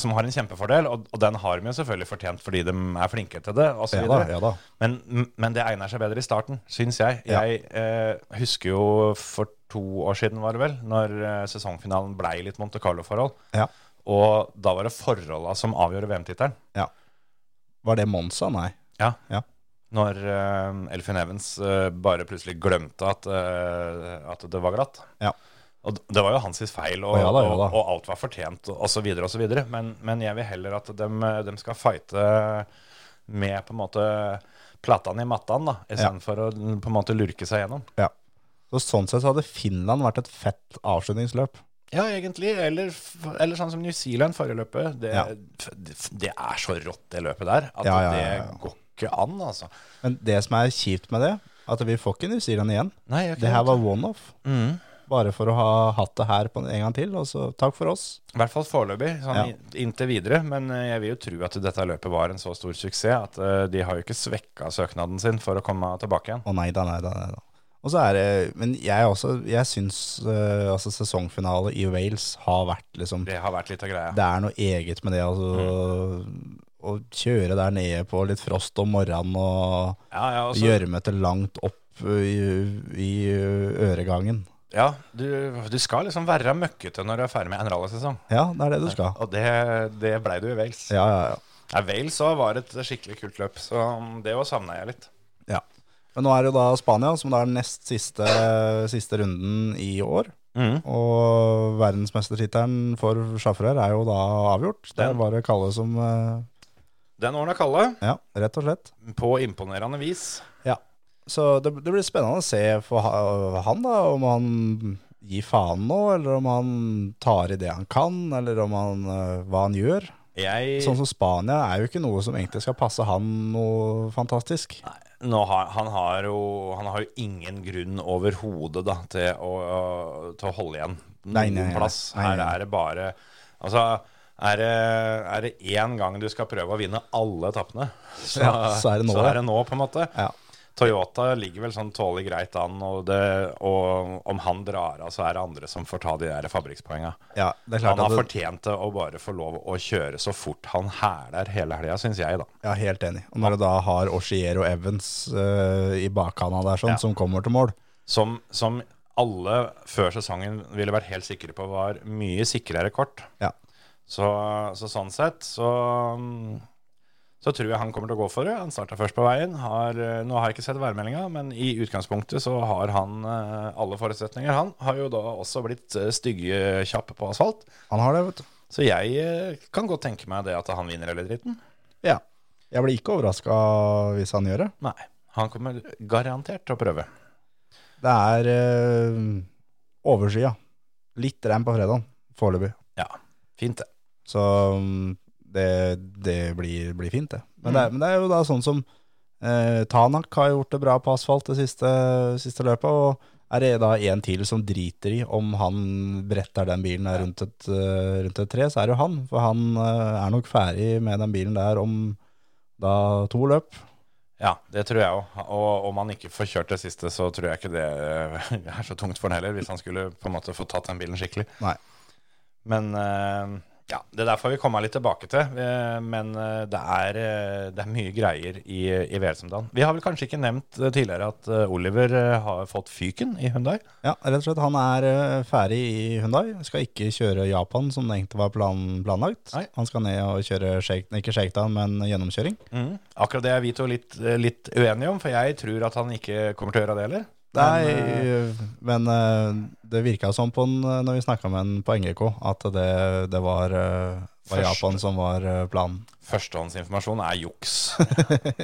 B: som har en kjempefordel, og, og den har de jo selvfølgelig fortjent fordi de er flinke til det. Og så
C: Ja da,
B: videre.
C: ja da.
B: Men, men det egner seg bedre i starten, syns jeg.
C: Ja.
B: Jeg eh, husker jo for to år siden, var det vel, når eh, sesongfinalen blei litt Monte Carlo-forhold.
C: Ja.
B: Og da var det forholda som avgjorde VM-tittelen.
C: Var det Monza? Nei.
B: Når eh, Elfin Evans eh, bare plutselig glemte at, eh, at det var glatt.
C: Ja.
B: Og d- det var jo hans sitt feil,
C: Å,
B: og,
C: ja da, ja da.
B: og, og alt var fortjent, og osv., osv. Men, men jeg vil heller at dem, eh, dem skal fighte med på en måte platene i mattan, da, istedenfor å på en måte lurke seg gjennom.
C: Så sånn sett så hadde Finland vært et fett avslutningsløp.
B: Ja, egentlig. Eller, f- eller sånn som New Zealand forrige løpet. Det,
C: Ja.
B: f- det- det er så rått, det løpet der, at
C: Ja, ja, ja, ja.
B: det går ikke an, altså.
C: Men det som er kjipt med det, at vi får ikke New Zealand igjen.
B: Nei, jeg
C: Det her var one-off.
B: mm.
C: Bare for å ha hatt det her på en gang til. Og så takk for oss.
B: I hvert fall foreløpig, sånn
C: Ja.
B: in- inntil videre. Men eh, jeg vil jo tro at dette løpet var en så stor suksess at eh, de har jo ikke svekka søknaden sin for å komme tilbake igjen.
C: Å nei da, nei da, nei da. Og så er det, Men jeg også, jeg syns eh, altså sesongfinale i Wales har vært liksom
B: Det har vært litt av greia.
C: Det er noe eget med det, altså. å kjøre der nede på litt frost om morgenen og
B: Ja, ja, og så-
C: gjørmete langt opp i, i øregangen.
B: ja du, du skal liksom være møkkete når du er ferdig med en rallysesong.
C: Ja, det er det du skal.
B: Og det, det blei du i Wales.
C: Ja, ja, ja.
B: Ja, Wales òg var et skikkelig kult løp, så um, det òg savna jeg litt.
C: Ja. Men nå er det jo da Spania, som da er den nest siste, siste runden i år. Mm. Og verdensmestertittelen for sjåfører er jo da avgjort. Det er
B: Den.
C: bare Kalle som eh,
B: Den åren av Kalle,
C: Ja, rett og slett.
B: på imponerende vis.
C: Ja. Så det, det blir spennende å se for ha- han, da, om han gir faen nå, eller om han tar i det han kan, eller om han, eh, hva han gjør.
B: Jeg
C: Sånn som Spania er jo ikke noe som egentlig skal passe han noe fantastisk.
B: nå har, han, har jo, han har jo ingen grunn overhodet da, til, å, å- til å holde igjen noen
C: Nei, nei, nei.
B: plass.
C: Nei, nei, nei.
B: Her er det bare Altså, er det, er det én gang du skal prøve å vinne alle etappene, så,
C: Ja, så er det nå,
B: så
C: ja.
B: er det nå på en måte.
C: Ja.
B: Toyota ligger vel sånn tålelig greit an, og, det, og om han drar av, så er det andre som får ta de der fabrikkspoenga.
C: Ja, det er
B: Han
C: klart
B: har
C: at det,
B: fortjent det å bare få lov å kjøre så fort han hæler hele helga, syns jeg, da.
C: Ja, helt enig. Og når du da har Oshier og Evans eh, i bakhanda der, sånn,
B: Ja.
C: som kommer til mål
B: Som, som alle før sesongen ville vært helt sikre på var mye sikrere kort.
C: Ja.
B: Så, så sånn sett så så tror jeg han kommer til å gå for det. Han starta først på veien. Har, nå har jeg ikke sett værmeldinga, men i utgangspunktet så har han eh, alle forutsetninger. Han har jo da også blitt eh, styggekjapp på asfalt.
C: Han har det, vet du.
B: Så jeg eh, kan godt tenke meg det at han vinner hele dritten.
C: Ja. Jeg blir ikke overraska hvis han gjør det.
B: Nei. Han kommer garantert til å prøve.
C: Det er eh, overskya. Litt regn på fredagen, foreløpig.
B: Ja, fint det.
C: Så mm, det, det blir, blir fint, det. Men, det. er- men det er jo da sånn som eh, Tanak har gjort det bra på asfalt det siste, siste løpet. og er det da en til som driter i om han bretter den bilen der rundt et, eh, rundt et tre, så er det jo han. For han eh, er nok ferdig med den bilen der om da to løp.
B: Ja, det tror jeg òg. Og om han ikke får kjørt det siste, så tror jeg ikke det eh, er så tungt for han heller, hvis han skulle på en måte få tatt den bilen skikkelig.
C: Nei.
B: Men eh, ja, det er derfor vi kommer litt tilbake til. Eh, Men eh, det er, eh, det er mye greier i, i VL som dagen. Vi har vel kanskje ikke nevnt eh, tidligere at eh, Oliver eh, har fått fyken i Hyundai.
C: Ja, rett og slett. Han er eh, ferdig i Hyundai. Skal ikke kjøre Japan, som det egentlig var plan planlagt.
B: Nei.
C: Han skal ned og kjøre shake, ikke shakedown, men gjennomkjøring.
B: Akkurat det er vi to litt, eh, litt uenige om, for jeg tror at han ikke kommer til å gjøre det heller.
C: Nei,
B: Men, eh,
C: men eh, det virka som på en, når vi snakka med en på NGK, at det, det var, eh, var
B: Første.
C: Japan som var eh, planen.
B: Førstehåndsinformasjon er juks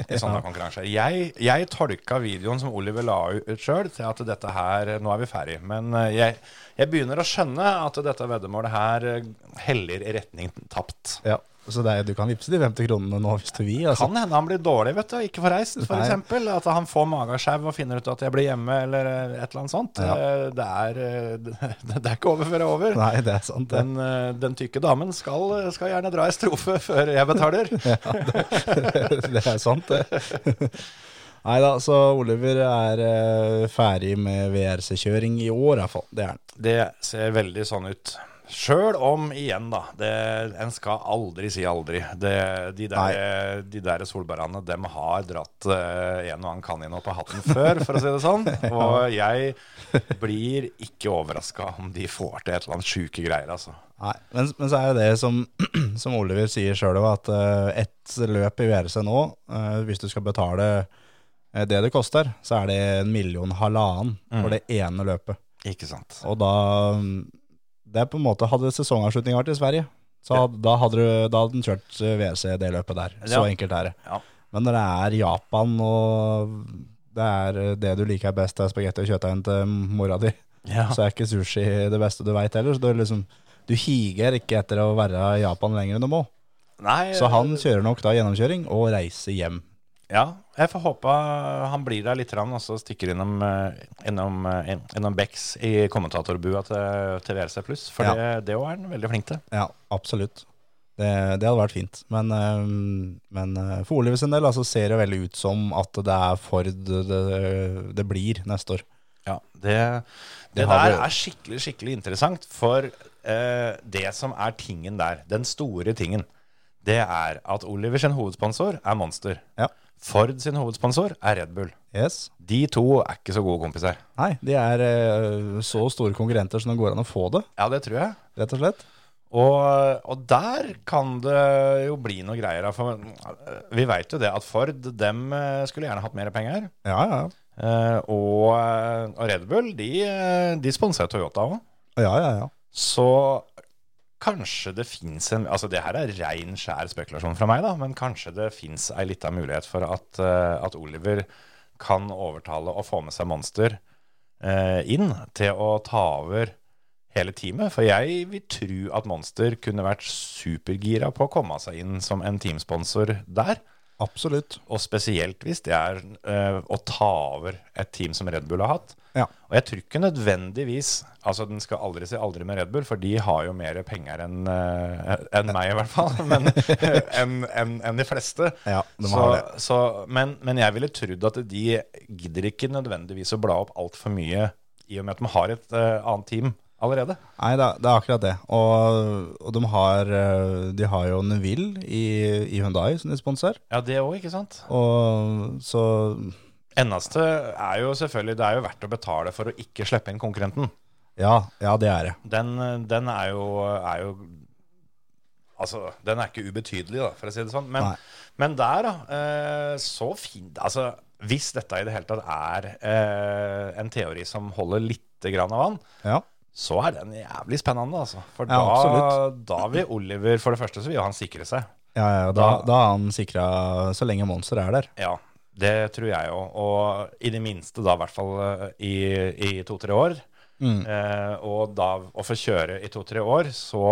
B: i sånne konkurranser. Jeg, jeg tolka videoen som Oliver la ut sjøl, til at dette her Nå er vi ferdig. Men eh, jeg, jeg begynner å skjønne at dette veddemålet her eh, heller i retning tapt.
C: Ja, Så det er, du kan vippse de 50 kronene nå hvis du vil. Altså.
B: Kan hende han blir dårlig, vet du, og ikke får reist,
C: Nei.
B: f.eks. At han får mageskjev og finner ut at jeg blir hjemme, eller eh, et eller annet sånt.
C: Ja.
B: Eh, Det, er, eh, det, det er ikke over før det er over.
C: Nei, det er sant. Det.
B: Den, eh, den tykke damen skal, skal gjerne dra i strofe før jeg betaler.
C: det er sant, det. Nei da, så Oliver er eh, ferdig med VRC-kjøring i år, iallfall. Det er han.
B: Det ser veldig sånn ut. Sjøl om, igjen, da det, En skal aldri si aldri. Det, de der, de der solbærene, dem har dratt eh, en og annen kanin opp av hatten før, for å si det sånn. Og jeg blir ikke overraska om de får til et eller annet sjuke greier, altså.
C: Nei, men, men så er jo det som, som Oliver sier sjøl òg, at eh, ett løp i VRC nå, eh, hvis du skal betale eh, det det koster, så er det en million halvannen
B: Mm.
C: for det ene løpet.
B: Ikke sant.
C: Og da mm, Det er på en måte Hadde sesongavslutninga vært i Sverige, så had, da, hadde du, da hadde den kjørt eh, VRC det løpet der. Så
B: Ja.
C: enkelt er det.
B: Ja.
C: Men når det er Japan, og det er eh, det du liker best, er spagetti og kjøttdeig til mora di
B: Ja.
C: så er ikke sushi det beste du veit heller. Så det er liksom, du higer ikke etter å være i Japan lenger enn du må.
B: Nei,
C: Så han kjører nok da gjennomkjøring og reiser hjem.
B: Ja, jeg får håpe han blir der litt, grann, og så stikker innom, eh, innom, eh, innom Becks i kommentatorbua til, til VRC Pluss. For
C: Ja.
B: det- det òg er han veldig flink til.
C: Ja, absolutt. Det, det hadde vært fint. Men, øhm, men øh, for Oliver sin del altså, ser det veldig ut som at det er Ford det, det blir neste år.
B: Ja, det, det,
C: Det har
B: der
C: vi-
B: er skikkelig, skikkelig interessant. For eh, det som er tingen der, den store tingen, det er at Oliver sin hovedsponsor er Monster.
C: Ja.
B: Ford sin hovedsponsor er Red Bull.
C: Yes.
B: De to er ikke så gode kompiser.
C: Nei, de er eh, så store konkurrenter som det går an å få det,
B: Ja, det tror jeg.
C: rett og slett.
B: Og, og der kan det jo bli noe greier. da, For eh, vi veit jo det at Ford dem eh, skulle gjerne hatt mer penger.
C: Ja, ja.
B: Eh, og, og Red Bull de, eh, de sponser Toyota òg.
C: Ja, ja, ja.
B: Så kanskje det fins en Altså det her er rein, skjær spekulasjon fra meg, da, men kanskje det fins ei lita mulighet for at, eh, at Oliver kan overtale og få med seg Monster eh, inn til å ta over hele teamet. For jeg vil tro at Monster kunne vært supergira på å komme seg inn som en teamsponsor der.
C: Absolutt.
B: Og spesielt hvis det er eh, å ta over et team som Red Bull har hatt.
C: Ja.
B: Og jeg tror ikke nødvendigvis Altså, den skal aldri si aldri med Red Bull, for de har jo mer penger enn eh, enn meg, i hvert fall. Men eh, enn enn- enn de fleste.
C: Ja, de
B: så,
C: har
B: så, men, men jeg ville trodd at de gidder ikke nødvendigvis å bla opp altfor mye, i og med at de har et eh, annet team allerede.
C: Nei, det er, det er akkurat det. Og, og de, har, eh, de har jo Neville i, i Hyundai som de sponser.
B: Ja, det òg, ikke sant?
C: Og så
B: Eneste er jo selvfølgelig Det er jo verdt å betale for å ikke slippe inn konkurrenten.
C: Ja, ja det er det.
B: Den, den er, jo, er jo Altså, den er ikke ubetydelig, da, for å si det sånn. Men,
C: Nei.
B: men der, da. eh, Så fint. Altså, hvis dette i det hele tatt er eh, en teori som holder lite grann av vann,
C: Ja.
B: så er den jævlig spennende, altså. For
C: Ja,
B: da,
C: absolutt.
B: da vil Oliver For det første så vil han sikre seg.
C: Ja, ja, da, da er han sikra så lenge Monster er der.
B: Ja, det tror jeg jo. Og i det minste da, i hvert fall eh, i, i to-tre år. Eh, og da å få kjøre i to-tre år, så,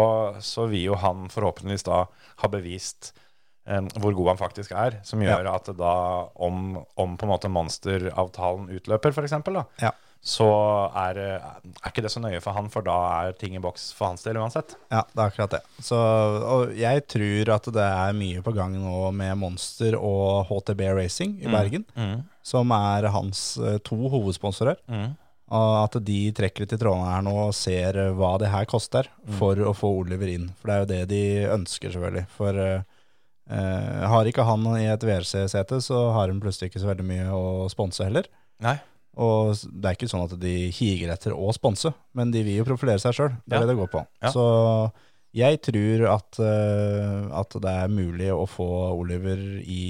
B: så vil jo han forhåpentligvis da ha bevist eh, hvor god han faktisk er. Som gjør at det da, om, om på en måte monsteravtalen utløper, f.eks., da,
C: Ja.
B: så er, eh, er ikke det så nøye for han, for da er ting i boks for hans del uansett.
C: Ja, det er akkurat det. Så, og jeg tror at det er mye på gang nå med Monster og HTB Racing i Bergen, som er hans eh, to hovedsponsorer. Og at de trekker ut i trådene her nå og ser eh, hva det her koster for å få Oliver inn. For det er jo det de ønsker, selvfølgelig. For eh, eh, har ikke han i et VRC-sete, så har han plutselig ikke så veldig mye å sponse heller.
B: Nei.
C: Og s- det er ikke sånn at de higer etter å sponse, men de vil jo profilere seg sjøl. Det er
B: Ja.
C: det det går på.
B: Ja.
C: Så jeg tror at, eh, at det er mulig å få Oliver i,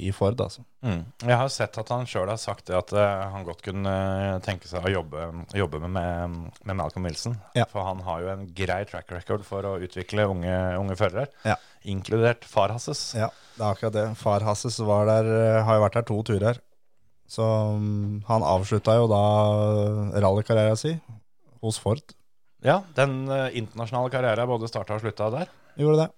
C: i Ford, altså.
B: Mm. Jeg har sett at han sjøl har sagt det at eh, han godt kunne eh, tenke seg å jobbe, jobbe med, med, med Malcolm Wilson.
C: Ja.
B: For han har jo en grei track record for å utvikle unge, unge førere,
C: Ja.
B: inkludert far hans.
C: Ja, det er akkurat det. Far Hasses var der, eh, har jo vært der to turer. Så mm, han avslutta jo da rallykarrieren sin hos Ford.
B: Ja, den eh, internasjonale karrieren både starta og slutta der.
C: Gjorde det.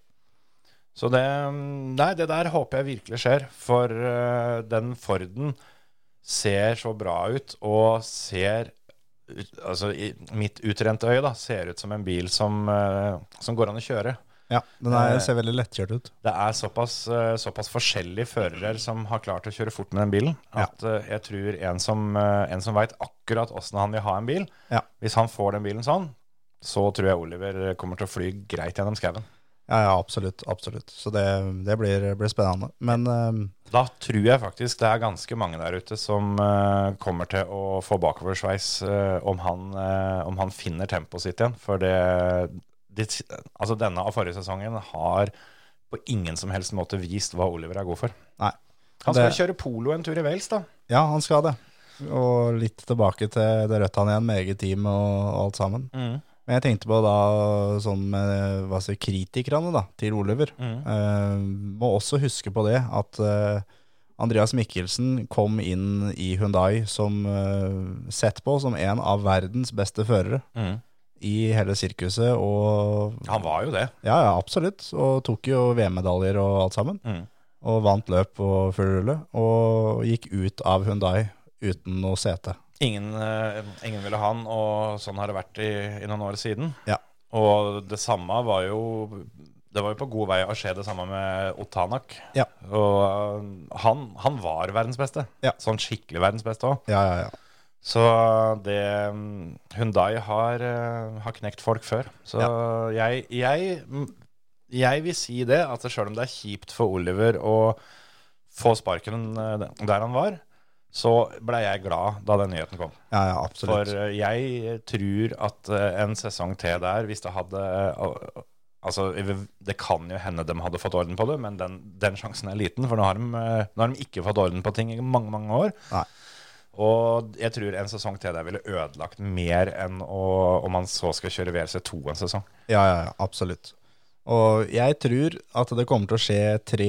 B: Så det mm, Nei, det der håper jeg virkelig skjer, for eh, den Forden ser så bra ut, og ser ut- Altså, i mitt utrente øye, da, ser ut som en bil som, eh, som går an å kjøre.
C: Ja, Den er, ser veldig lettkjørt ut.
B: det er såpass, eh, såpass forskjellige førere som har klart å kjøre fort med den bilen, at eh, jeg tror en som, eh, en som veit akkurat åssen han vil ha en bil,
C: Ja.
B: hvis han får den bilen sånn, så tror jeg Oliver eh, kommer til å fly greit gjennom skauen.
C: Ja, ja, absolutt. absolutt. Så det, det blir, blir spennende. Men eh,
B: Da tror jeg faktisk det er ganske mange der ute som eh, kommer til å få bakoversveis eh, om, han, eh, om han finner tempoet sitt igjen. For det, det, altså denne og forrige sesongen har på ingen som helst måte vist hva Oliver er god for.
C: nei.
B: Han skal
C: Det-
B: kjøre polo en tur i Wales, da.
C: Ja, han skal det. Og litt tilbake til det rødt han igjen, med eget team og og alt sammen. Men jeg tenkte på da sånn med hva sier, kritikerne da, til Oliver. Eh, må også huske på det at eh, Andreas Mikkelsen kom inn i Hyundai som eh, sett på som en av verdens beste førere i hele sirkuset. Og
B: Han var jo det.
C: ja, ja, absolutt. Og tok jo VM-medaljer og alt sammen.
B: Mm.
C: Og vant løp og full rulle. Og gikk ut av Hyundai uten noe sete.
B: Ingen, eh, ingen ville ha han, og sånn har det vært i, i noen år siden.
C: Ja.
B: Og det samme var jo Det var jo på god vei å skje det samme med Otanak.
C: Ja.
B: Og eh, han, han var verdens beste.
C: Ja.
B: Sånn skikkelig verdens beste òg.
C: Ja, ja, ja.
B: Så det mm, Hundai har, eh, har knekt folk før. Så jeg, jeg jeg vil si det, at sjøl om det er kjipt for Oliver å få sparken eh, der han var, så blei jeg glad da den nyheten kom.
C: Ja, ja,
B: For
C: absolutt.
B: eh, jeg tror at eh, en sesong til der, hvis det hadde eh, Altså, Det kan jo hende de hadde fått orden på det, men den, den sjansen er liten. For nå har, de, eh, nå har de ikke fått orden på ting i mange, mange år.
C: Nei.
B: Og jeg tror en sesong til der ville ødelagt mer enn å, om man så skal kjøre VRC2 en sesong.
C: Ja, ja, ja, absolutt. Og jeg tror at det kommer til å skje tre,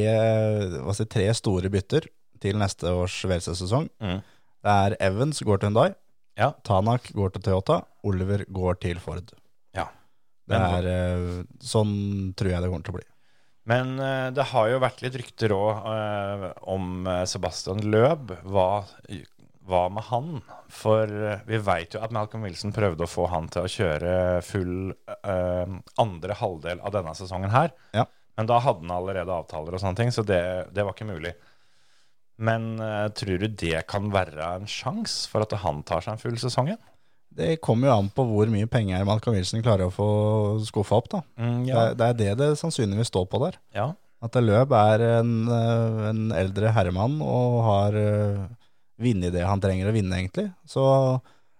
C: hva skal jeg si, tre store bytter til neste års VLC-sesong.
B: Mm.
C: Det er Evans går til Hyundai,
B: Ja.
C: Tanak går til Toyota, Oliver går til Ford.
B: Ja.
C: Det
B: Men-
C: er, eh, sånn tror jeg det kommer til å bli.
B: Men eh, det har jo vært litt rykter òg om eh, Sebastian Løb. Hva, hva med han? For eh, vi veit jo at Malcolm Wilson prøvde å få han til å kjøre full eh, andre halvdel av denne sesongen her.
C: Ja.
B: Men da hadde han allerede avtaler og sånne ting, så det, det var ikke mulig. Men eh, tror du det kan være en sjanse for at han tar seg en full sesong igjen?
C: Det kommer jo an på hvor mye penger Malcolm Wilson klarer å få skuffa opp, da.
B: Mm,
C: Det, er- det er det det sannsynligvis står på der.
B: ja.
C: At Løb er en, eh, en eldre herremann og har eh, vunnet det han trenger å vinne, egentlig. Så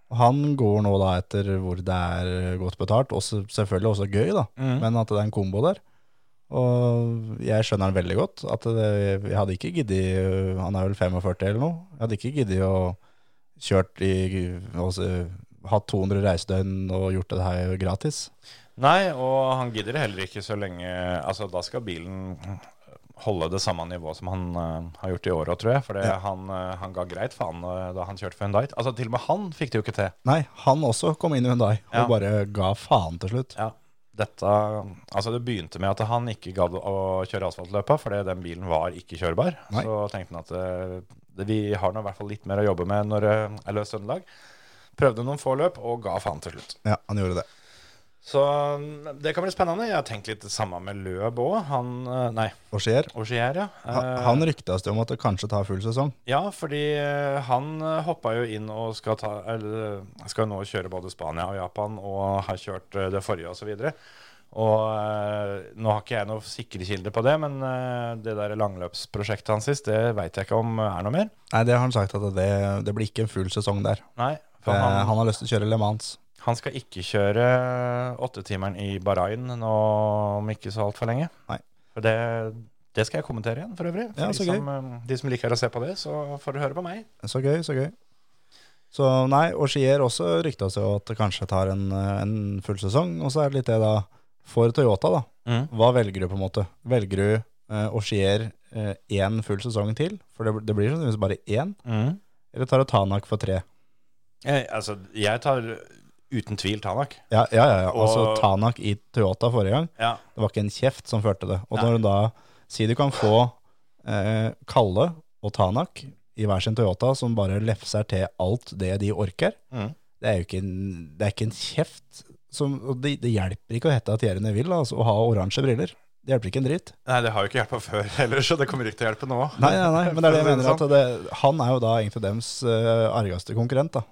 C: han går nå da etter hvor det er eh, godt betalt, og se- selvfølgelig også gøy, da.
B: Mm.
C: Men at det er en kombo der. Og jeg skjønner han veldig godt. At det, jeg hadde ikke giddet eh, Han er vel 45 eller noe. Jeg hadde ikke giddet å kjørt i altså, Hatt 200 reisedøgn og gjort det her gratis.
B: Nei, og han gidder det heller ikke så lenge Altså, da skal bilen holde det samme nivået som han eh, har gjort i året, tror jeg. For det-
C: Ja.
B: han, eh, han ga greit faen eh, da han kjørte for Hundite. Altså, til og med han fikk det jo ikke til.
C: Nei, han også kom inn i Hyundai
B: Ja.
C: og bare ga faen til slutt.
B: Dette, altså Det begynte med at han ikke gadd å kjøre asfaltløpa, fordi den bilen var ikke kjørbar.
C: Nei.
B: Så tenkte han at eh, det, vi har nå i hvert fall litt mer å jobbe med når det er løst Trøndelag. Prøvde noen få løp og ga faen til slutt.
C: Ja, han gjorde det.
B: Så mm, det kan bli spennende. Jeg har tenkt litt det samme med Løb òg. Han eh, Nei,
C: Og skjer.
B: Augier, ja.
C: Ha-
B: Eh,
C: Han ryktes det om at det kanskje tar full sesong.
B: Ja, fordi eh, han eh, hoppa jo inn og skal, ta, eller, eh, skal nå kjøre både Spania og Japan, og har kjørt eh, det forrige osv. Og, så videre. og eh, nå har ikke jeg noen sikre kilder på det, men eh, det der langløpsprosjektet hans sist, det veit jeg ikke om er noe mer.
C: Nei, det har han sagt at det, det blir ikke en full sesong der. Eh,
B: Nei, for
C: Han,
B: han,
C: han har lyst til å kjøre Le Mans.
B: han skal ikke kjøre eh, åttetimeren i Bahrain nå om ikke så altfor lenge.
C: Nei.
B: For det, det skal jeg kommentere igjen, for øvrig. For
C: Ja, så
B: de, som, eh, de som liker å se på det, så får du høre på meg.
C: Så gøy, så gøy. Så nei, og Skier også ryktes jo at det kanskje tar en, en full sesong. Og så er det litt det da, for Toyota da,
B: Mm.
C: hva velger du på en måte? Velger du eh, og Skier eh, én full sesong til? For det, det blir sannsynligvis bare én.
B: Mm.
C: Eller tar du Tanak for tre?
B: Jeg, altså, jeg tar uten tvil Tanak.
C: Ja, ja, ja. ja. Altså
B: Og-
C: Tanak i Toyota forrige gang.
B: Ja.
C: Det var ikke en kjeft som førte det. Og
B: Nei.
C: når du da sier du kan få eh, Kalle og Tanak i hver sin Toyota som bare lefser til alt det de orker,
B: Mm.
C: det er jo ikke en, det er ikke en kjeft som og det, det hjelper ikke å hete at Jerene vil altså, å ha oransje briller. Det hjelper ikke en dritt.
B: Nei, det har jo ikke hjulpet før heller, så det kommer ikke til å hjelpe nå.
C: Nei, nei, nei, men det er det jeg mener.
B: Sånn.
C: At det, han er jo da egentlig dems eh, argeste konkurrent. da.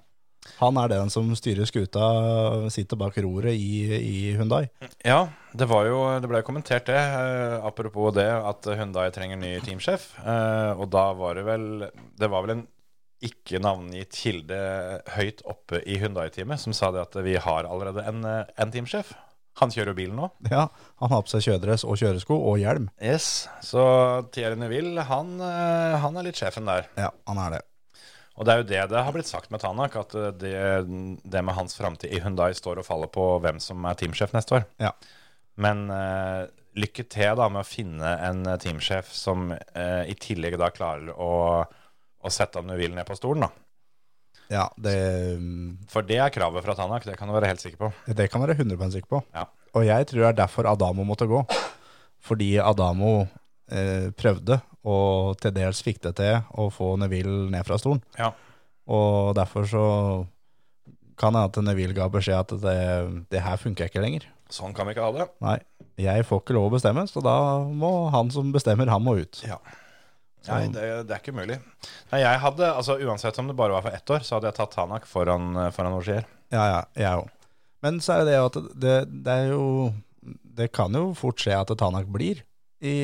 C: Han er den som styrer skuta, sitter bak roret i, i Hundai.
B: Ja, det, var jo, det ble jo kommentert det, eh, apropos det, at Hyundai trenger ny teamsjef. Eh, og da var det vel Det var vel en ikke navngitt kilde høyt oppe i Hyundai-teamet som sa det at vi har allerede en, eh, en teamsjef. Han kjører jo bilen nå.
C: Ja, Han har på seg kjøredress og kjøresko og hjelm.
B: Yes, Så Thierry Neville, han, eh, han er litt sjefen der.
C: Ja, han er det.
B: Og det er jo det det har blitt sagt med Tanak, at eh, det, det med hans framtid i Hundai står og faller på hvem som er teamsjef neste år.
C: Ja.
B: Men eh, lykke til da med å finne en eh, teamsjef som eh, i tillegg da klarer å, å sette han du vil ned på stolen, da.
C: Ja, det, mm,
B: For det er kravet fra Tanak, det kan du være helt sikker på.
C: det kan være 100 sikker på.
B: Ja.
C: Og jeg tror det er derfor Adamo måtte gå. Fordi Adamo eh, prøvde, og til dels fikk det til, å få Neville ned fra stolen.
B: Ja.
C: Og derfor så kan det hende at Neville ga beskjed at det, det her funker ikke lenger.
B: Sånn kan vi ikke ha det.
C: Nei, jeg får ikke lov å bestemme, så da må han som bestemmer, han må ut. Så-
B: Nei, det, det er ikke mulig. Nei, jeg hadde, altså Uansett om det bare var for ett år, så hadde jeg tatt Tanak eh, foran, foran Ogier.
C: Ja, ja, jeg òg. Men så er det det at det, det er jo det kan jo fort skje at Tanak blir i,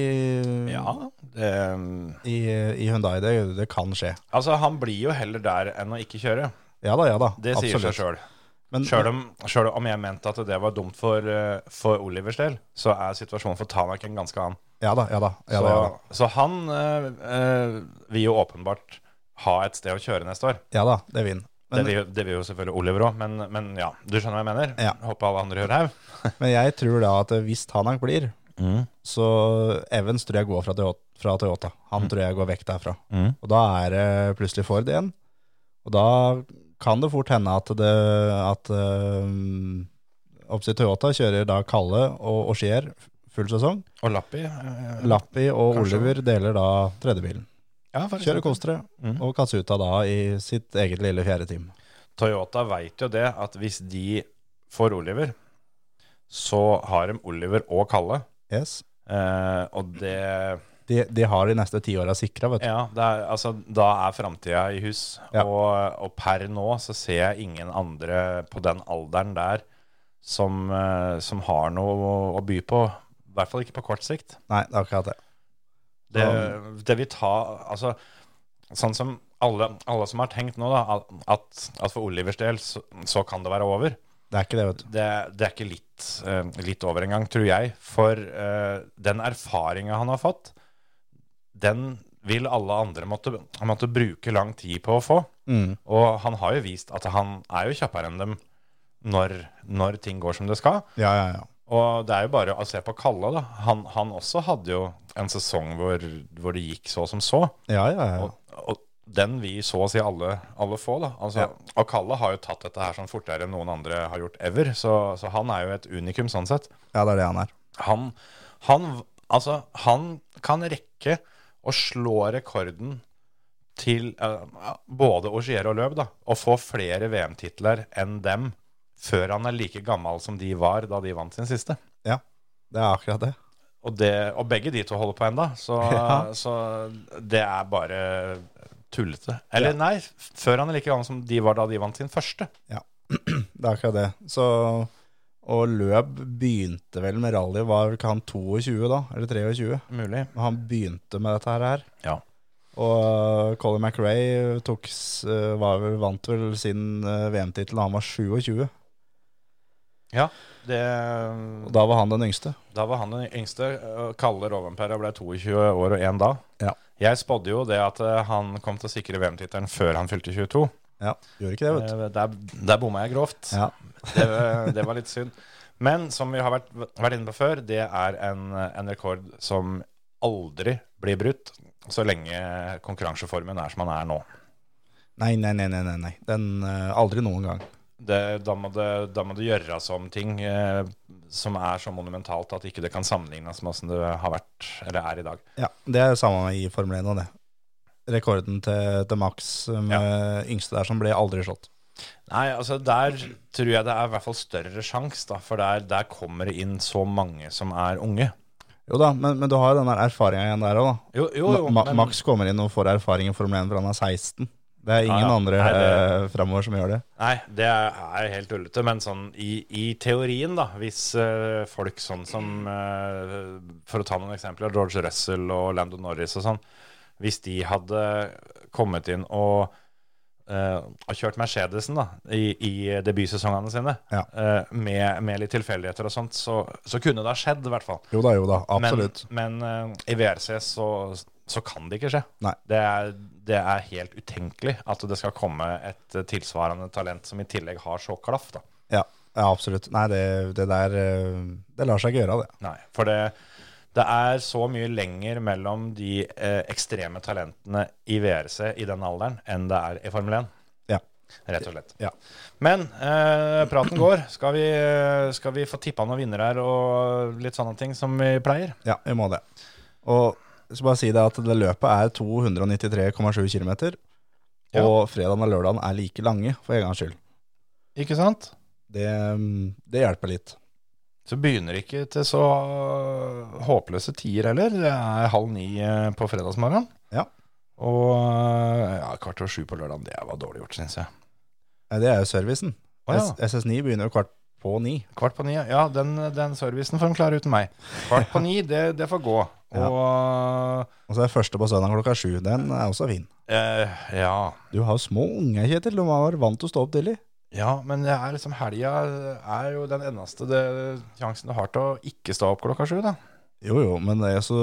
B: Ja, det, mm,
C: i, i Hyundai. Det, det kan skje.
B: Altså, han blir jo heller der enn å ikke kjøre.
C: Ja da, ja da.
B: Det sier seg sjøl.
C: Men-
B: Sjøl om, selv om jeg mente at det var dumt for, eh, for Olivers del, så er situasjonen for Tanak en ganske annen.
C: Ja da, ja da. Ja,
B: så,
C: da, ja, da.
B: så han eh, eh, vil jo åpenbart ha et sted å kjøre neste år.
C: ja da, det vinner.
B: det,
C: Men,
B: vil, jo- det vil jo selvfølgelig Oliver òg, men, men ja, du skjønner hva jeg mener?
C: Ja.
B: Håper alle andre gjør det òg.
C: men jeg tror da at hvis Tanak blir,
B: Mm.
C: så Evans tror jeg går fra Toyota. Fra Toyota. Han tror jeg går vekk derfra.
B: Mm.
C: Og da er det plutselig Ford igjen. Og da kan det fort hende at det at øhm, oppsett Toyota kjører da Kalle og, og Skier full sesong.
B: Og Lappi. eh,
C: Lappi og
B: Kanskje.
C: Oliver deler da tredjebilen.
B: ja, for
C: Kjører
B: eksempel.
C: Kostre
B: Mm.
C: og Katsuta da i sitt eget lille fjerde team.
B: Toyota veit jo det at hvis de får Oliver, så har de Oliver og Kalle.
C: Yes.
B: Eh, og det
C: De, de har de neste ti åra sikra, vet du.
B: Ja, det er, altså, da er framtida i hus.
C: Ja.
B: Og, og per nå så ser jeg ingen andre på den alderen der som, eh, som har noe å, å by på. I hvert fall ikke på kort sikt.
C: Nei, det er akkurat det.
B: Det, det vil ta Altså, sånn som alle, alle som har tenkt nå, da, at, at for Olivers del så, så kan det være over.
C: Det er ikke det, vet du.
B: Det, det er ikke litt, eh, litt over engang, tror jeg. For eh, den erfaringa han har fått, den vil alle andre måtte, måtte bruke lang tid på å få.
C: Mm.
B: Og han har jo vist at han er jo kjappere enn dem når, når ting går som det skal.
C: Ja, ja, ja.
B: Og det er jo bare å se på Kalle, da. Han, han også hadde jo en sesong hvor, hvor det gikk så som så.
C: Ja, ja, ja.
B: Og, og den vil så å si alle, alle få, da. Altså,
C: Ja.
B: Og Kalle har jo tatt dette her sånn fortere enn noen andre har gjort ever, så, så han er jo et unikum sånn sett.
C: ja, det er det han er.
B: Han, han, altså, han kan rekke å slå rekorden til eh, både Augier og Løv, da, og få flere VM-titler enn dem før han er like gammel som de var da de vant sin siste.
C: Ja, det er akkurat det.
B: Og, det, og begge de to holder på enda, så,
C: Ja.
B: så det er bare tullete. Eller nei, før han er like gammel som de var da de vant sin første.
C: Det er akkurat det. Så, og løp begynte vel med rally, var vel ikke han 22 da, eller 23?
B: Mulig.
C: Men Han begynte med dette her.
B: Ja.
C: Og øh, Colin McRae tok, s- øh, var vel, vant vel sin øh, VM-titel da han var 27.
B: Ja, det,
C: Og da var han den yngste.
B: da var han den yngste. og Kalle Rovenpera ble 22 år og én da.
C: Ja.
B: Jeg spådde jo det at eh, han kom til å sikre VM-tittelen før han fylte 22.
C: Ja, gjorde ikke det, vet du.
B: Eh, Der, der bomma jeg grovt.
C: Ja.
B: Det, var- det var litt synd. Men som vi har vært, vært inne på før, det er en, en rekord som aldri blir brutt så lenge konkurranseformen er som den er nå.
C: Nei, nei, nei, nei, nei, nei. Den øh, aldri noen gang.
B: Det, da, må det, da må det gjøres om ting eh, som er så monumentalt at ikke det kan sammenlignes med hvordan det har vært eller er i dag.
C: Ja, det er det samme i Formel 1 og det. Rekorden til, til Max uh, med yngste der som ble aldri slått.
B: Nei, altså der tror jeg det er i hvert fall større sjanse, da. For der, der kommer det inn så mange som er unge.
C: Jo da, men, men du har jo den der erfaringa igjen der òg, da.
B: Jo, jo, jo
C: Ma
B: men-
C: Max kommer inn og får erfaring i Formel 1 fra han er 16. Det er ingen
B: ja.
C: andre
B: Nei,
C: eh,
B: det-
C: fremover som gjør det.
B: Nei, det er helt ullete, men sånn i, i teorien, da, hvis eh, folk sånn som eh, For å ta noen eksempler, George Russell og Landon Norris og sånn, hvis de hadde kommet inn og eh, og kjørt Mercedesen da i, i debutsesongene sine
C: Ja.
B: eh, med, med litt tilfeldigheter og sånt, så, så kunne det ha skjedd, i hvert fall.
C: Jo da, jo da. Absolutt.
B: Men, men eh, i VRC så, så kan det ikke skje.
C: Nei.
B: Det, er, det er helt utenkelig at det skal komme et eh, tilsvarende talent som i tillegg har så klaff. da.
C: Ja, ja absolutt. Nei, det, det der eh, Det lar seg ikke gjøre, det.
B: Nei, for det, det er så mye lenger mellom de eh, ekstreme talentene i VRC i den alderen enn det er i Formel 1.
C: Ja.
B: Rett og slett.
C: Ja.
B: Men eh, praten går. Skal vi, eh, skal vi få tippa noen vinnere her og litt sånne ting som vi pleier?
C: Ja, vi må det. Og jeg skal bare si det at det løpet er 293,7 km.
B: Ja.
C: Og fredagen og lørdagen er like lange, for en gangs skyld.
B: Ikke sant?
C: Det, mm, det hjelper litt.
B: Så begynner det ikke til så håpløse tider heller. Det er halv ni eh, på fredagsmorgen.
C: Ja.
B: Og eh, ja, kvart over sju på lørdagen. Det var dårlig gjort, syns jeg.
C: Nei, Det er Eh, jo servicen.
B: Å, ja.
C: SS9 begynner jo kvart på ni.
B: Kvart på ni, ja, den, den servicen får de klare uten meg. Kvart på ni, det, det får gå.
C: Ja.
B: Og
C: Og så er det første på søndag klokka sju. Den er også fin.
B: eh, ja.
C: Du har jo små unger, Kjetil. Du var vant til å stå opp tidlig.
B: ja, men det er liksom helga er jo den eneste det, sjansen du har til å ikke stå opp klokka sju, da.
C: Jo, jo, men det er så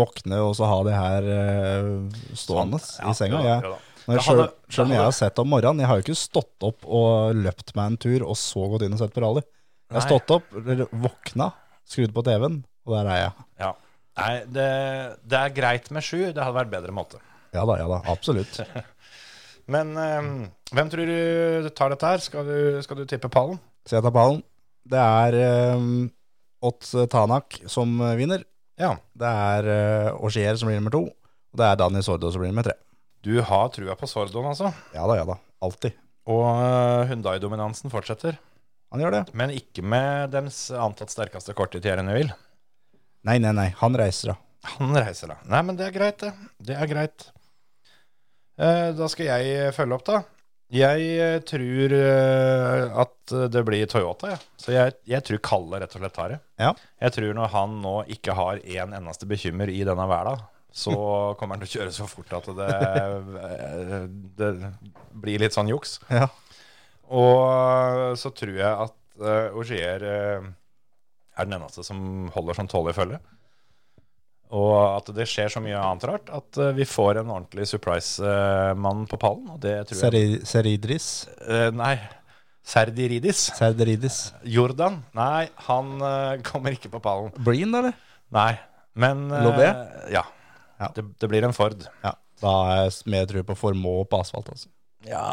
C: våkne og så ha det her eh, stående
B: Ja,
C: i senga.
B: jo da,
C: Jeg,
B: jo da.
C: når
B: Det
C: jeg selv,
B: hadde- det
C: selv om jeg
B: hadde-
C: har sett om morgenen, jeg har jo ikke stått opp og løpt meg en tur, og så gått inn og sett på rally. Jeg har
B: Nei.
C: stått opp, eller våkna, skrudd på TV-en, og der er jeg.
B: Ja. Nei, det, det er greit med sju. Det hadde vært bedre med åtte.
C: Ja da, ja da, absolutt.
B: Men eh, hvem tror du tar dette her? Skal du, skal du tippe pallen?
C: Så jeg tar ballen. Det er eh, Ott Tanak som vinner.
B: Ja.
C: Det er eh, Osier som blir nummer to. Og det er Dani Sordo som blir nummer tre.
B: Du har trua på Sordoen, altså.
C: Ja da, ja da. Alltid.
B: Og uh, Hundai-dominansen fortsetter.
C: Han gjør det.
B: Men ikke med dems antatt sterkeste kort i Thierry Neville.
C: Nei, nei, nei. Han reiser, da.
B: Han reiser, da. Nei, men det er greit, det. Det er greit. Eh, da skal jeg eh, følge opp, da. Jeg eh, tror eh, at det blir Toyota, jeg. Ja. Så jeg, jeg tror Kalle rett og slett tar det.
C: Ja.
B: Jeg tror når han nå ikke har en eneste bekymmer i denne hverdagen, så kommer han til å kjøre så fort at det, eh, det blir litt sånn juks.
C: Ja.
B: Og så tror jeg at uh, Ogier eh, er den eneste som holder sånn tålelig følge. Og at det skjer så mye annet rart at eh, vi får en ordentlig surprise-mann på pallen. Og det tror jeg
C: Seri Seridris.
B: Eh, Nei. Serdiridis.
C: Serderidis.
B: Jordan. Nei, han eh, kommer ikke på pallen.
C: Breen, eller?
B: Nei. Men eh,
C: Lobé?
B: Ja.
C: Ja.
B: Det, det blir en Ford.
C: Ja. Da er jeg s- mer tro på formå på asfalt, altså.
B: Ja,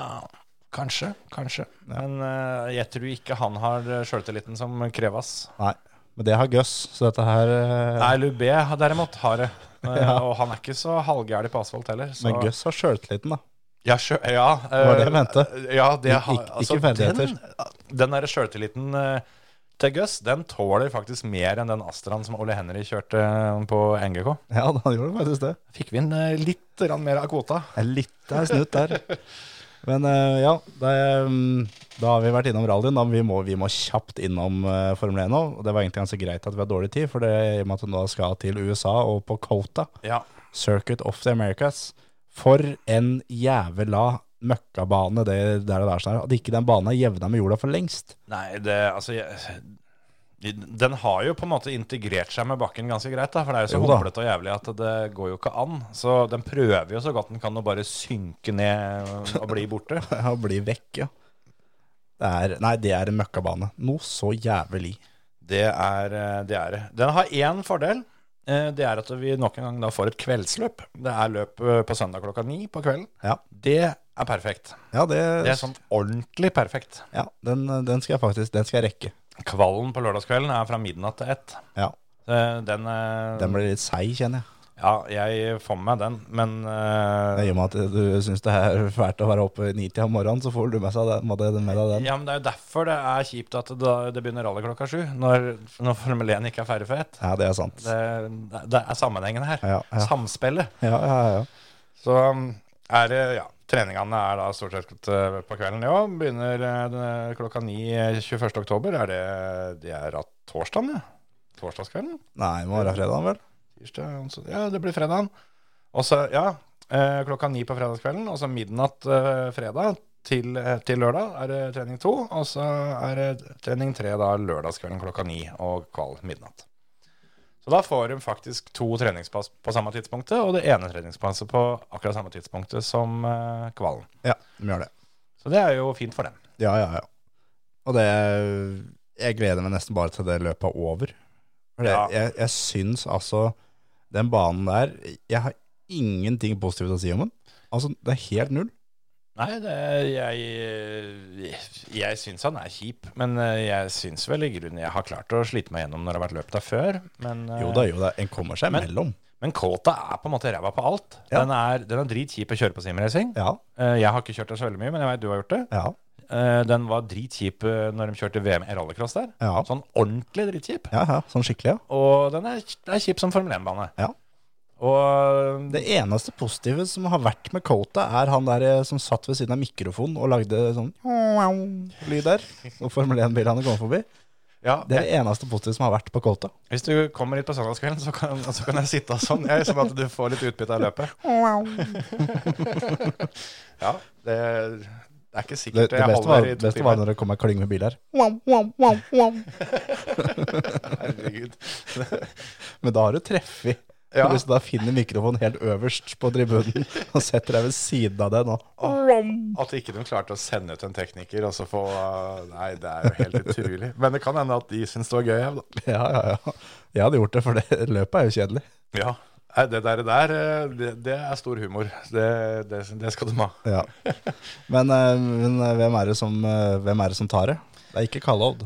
B: kanskje. Kanskje. Men eh, jeg tror ikke han har eh, sjøltilliten som kreves.
C: Nei. Men det har Gus, så dette her eh,
B: Nei, Lubé derimot har det. Eh, Og han er ikke så halvgæren på asfalt heller. Så.
C: Men Gus har sjøltilliten, da.
B: Ja, sjø, ja, eh,
C: var det jeg mente.
B: Ja, det
C: Ikke-
B: har, altså,
C: ikke ferdigheter.
B: Den, den derre sjøltilliten eh, til Gus, den tåler faktisk mer enn den Astraen som Ole Henry kjørte eh, på NGK.
C: Ja, da, han gjorde faktisk det.
B: Fikk vi inn eh, litt grann mer av kvota?
C: Det er litt av en snutt der. Men eh, ja, det, mm, da har vi vært innom rallyen. Da vi må, vi må kjapt innom eh, Formel 1 nå. Og det var egentlig ganske greit at vi har dårlig tid, for det, i og med at du nå skal til USA og på Cota,
B: Ja.
C: Circuit of the Americas For en jævla møkkabane det der og der sånn her. At ikke den banen er jevna med jorda for lengst.
B: Nei, det Altså, jeg, den har jo på en måte integrert seg med bakken ganske greit, da, for det er jo så
C: Jo da.
B: humlete og jævlig at det går jo ikke an. Så den prøver jo så godt den kan å bare synke ned og bli borte.
C: Og blir vekk, ja. Det er, nei, det er en møkkabane. Noe så jævlig.
B: Det er eh, det. er det. Den har én fordel. eh, Det er at vi nok en gang da får et kveldsløp. Det er løp eh, på søndag klokka ni på kvelden.
C: Ja.
B: Det er perfekt.
C: Ja, det,
B: Det er sånn ordentlig perfekt.
C: ja den, den skal jeg faktisk Den skal jeg rekke.
B: Kvallen på lørdagskvelden er fra midnatt til ett.
C: Ja.
B: Eh, Den, eh,
C: Den blir litt seig, kjenner jeg.
B: Ja, jeg får med meg den, men eh,
C: I og med at du syns det er fælt å være oppe i nitida om morgenen, så får du med, seg den, med deg med deg den.
B: Ja, men Det er jo derfor det er kjipt at det, da- det begynner rally klokka sju, når, når Formel 1 ikke er ferdig for ett.
C: Ja, det er sant.
B: Det, det er sammenhengen her.
C: Ja, ja.
B: Samspillet.
C: Ja, ja, ja.
B: Så um, er det Ja. Treningene er da stort sett eh, på kvelden i år. Begynner eh, den- klokka ni eh, 21. oktober. Er det, det er av torsdagen, ja. Torsdagskvelden?
C: Nei, må være fredag, vel?
B: Tirsdag, onsdag. Ja, det blir fredagen. Og så, ja, eh, klokka ni på fredagskvelden, og så midnatt eh, fredag til, eh, til lørdag er det trening to, og så er det trening tre da lørdagskvelden klokka ni og kval midnatt. Så da får de faktisk to treningspass på samme tidspunktet, og det ene treningspasset på akkurat samme tidspunktet som eh, kvalen.
C: Ja, de gjør det.
B: Så det er jo fint for dem.
C: Ja, ja, ja. Og det Jeg gleder meg nesten bare til det løpet er over. For det,
B: Ja.
C: jeg, jeg syns altså Den banen der Jeg har ingenting positivt å si om den. Altså, det er helt null.
B: Nei, det, jeg, jeg syns han er kjip, men eh, jeg syns vel i grunnen jeg har klart å slite meg gjennom når det har vært løp der før. Men, eh,
C: Jo da, jo da, en kommer seg
B: Men-
C: imellom.
B: Men Kåta er på en måte ræva på alt.
C: Ja.
B: Den er, den er dritkjip å kjøre på simracing.
C: Ja,
B: Eh, Jeg har ikke kjørt den så veldig mye, men jeg vet du har gjort det.
C: ja,
B: Eh, Den var dritkjip eh, når de kjørte VM i rallycross der.
C: ja.
B: Sånn ordentlig dritkjip.
C: Ja, ja, sånn skikkelig, ja.
B: Og den er, det er kjip som Formel 1-bane.
C: Ja.
B: Og
C: Det eneste positive som har vært med Cota, er han der eh, som satt ved siden av mikrofonen og lagde sånn lyd der. Og Formel 1-bilene kom forbi.
B: ja,
C: Det er det eneste positive som har vært på Cota.
B: Hvis du kommer hit på søndagskvelden, så kan, så kan jeg sitte og sånn, jeg, sånn at du får litt utbytte av løpet. Ja, det, det er ikke
C: Det,
B: sikkert
C: det
B: jeg
C: beste var,
B: holder i to
C: beste var
B: timer.
C: når det kom en klynge med biler.
B: Herregud.
C: Men da har du treffet.
B: Ja.
C: Hvis du da finner mikrofonen helt øverst på tribunen og setter deg ved siden av den og
B: At ikke de klarte å sende ut en tekniker og så få uh, Nei, det er jo helt utrolig. Men det kan hende at de syns det var gøy. ja, da.
C: Ja, ja, ja. Jeg hadde gjort det, for det løpet er jo kjedelig.
B: Ja. Nei, det der, det der eh, det, det er stor humor. Det, det, det skal de ha.
C: Ja. Men, eh, men eh, hvem, er det som, eh, hvem er det som tar det? Det er ikke Kallovd.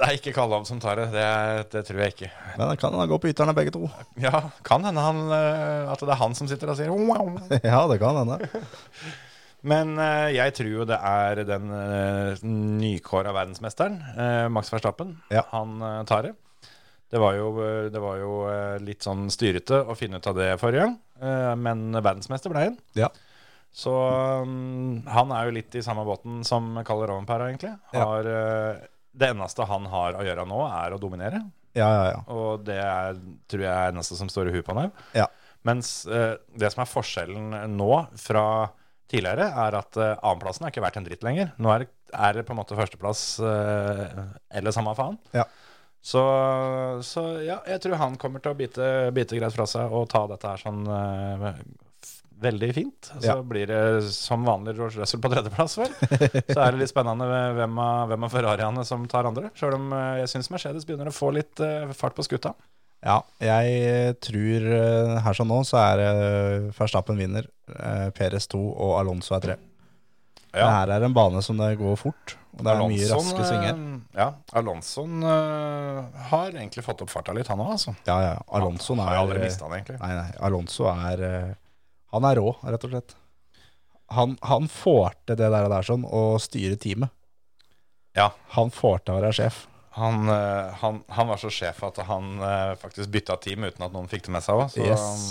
B: Det er ikke Kallam som tar det. det. Det tror jeg ikke.
C: Men det kan gå på ytterne begge to.
B: Ja, kan hende han, eh, at det er han som sitter og sier wow.
C: Ja, det kan hende.
B: Men eh, jeg tror jo det er den uh, nykåra verdensmesteren, eh, Max Verstappen,
C: Ja.
B: han eh, tar det. Det var jo, eh, det var jo eh, litt sånn styrete å finne ut av det forrige gang, eh, men verdensmester ble han.
C: Ja.
B: Så mm, han er jo litt i samme båten som Kalle Rovenpera, egentlig.
C: Ja.
B: Har, eh, det eneste han har å gjøre nå, er å dominere.
C: Ja, ja, ja.
B: Og det er, tror jeg er eneste som står i huet på han her.
C: Ja.
B: Mens eh, det som er forskjellen eh, nå fra tidligere, er at eh, annenplassen er ikke verdt en dritt lenger. Nå er det, er det på en måte førsteplass eh, eller samme faen.
C: Ja.
B: Så, så ja, jeg tror han kommer til å bite, bite greit fra seg og ta dette her sånn eh, f- veldig fint. Så
C: Ja.
B: blir det som vanlig George Russell på tredjeplass, vel. Så er det litt spennende hvem av, hvem av Ferrariene som tar andre. Sjøl om eh, jeg syns Mercedes begynner å få litt eh, fart på skuta.
C: ja jeg tror eh, her som nå så er eh, Verstappen vinner, eh, Perez 2 og Alonso er 3. Det her er en bane som det går fort, og det er mye
B: Alonsoen,
C: raske svinger.
B: eh, Ja, Alonson eh, har egentlig fått opp farta litt, han òg, altså.
C: Ja, ja. Alonso er
B: Har
C: eh,
B: jeg aldri mista han, egentlig.
C: Nei, nei. Alonso er eh, Han er rå, rett og slett. Han, han får til det der, og der sånn, å styre teamet.
B: Ja.
C: Han får til å være sjef.
B: Han, eh, han, han var så sjef at han eh, faktisk bytta team uten at noen fikk det med seg òg.
C: Yes.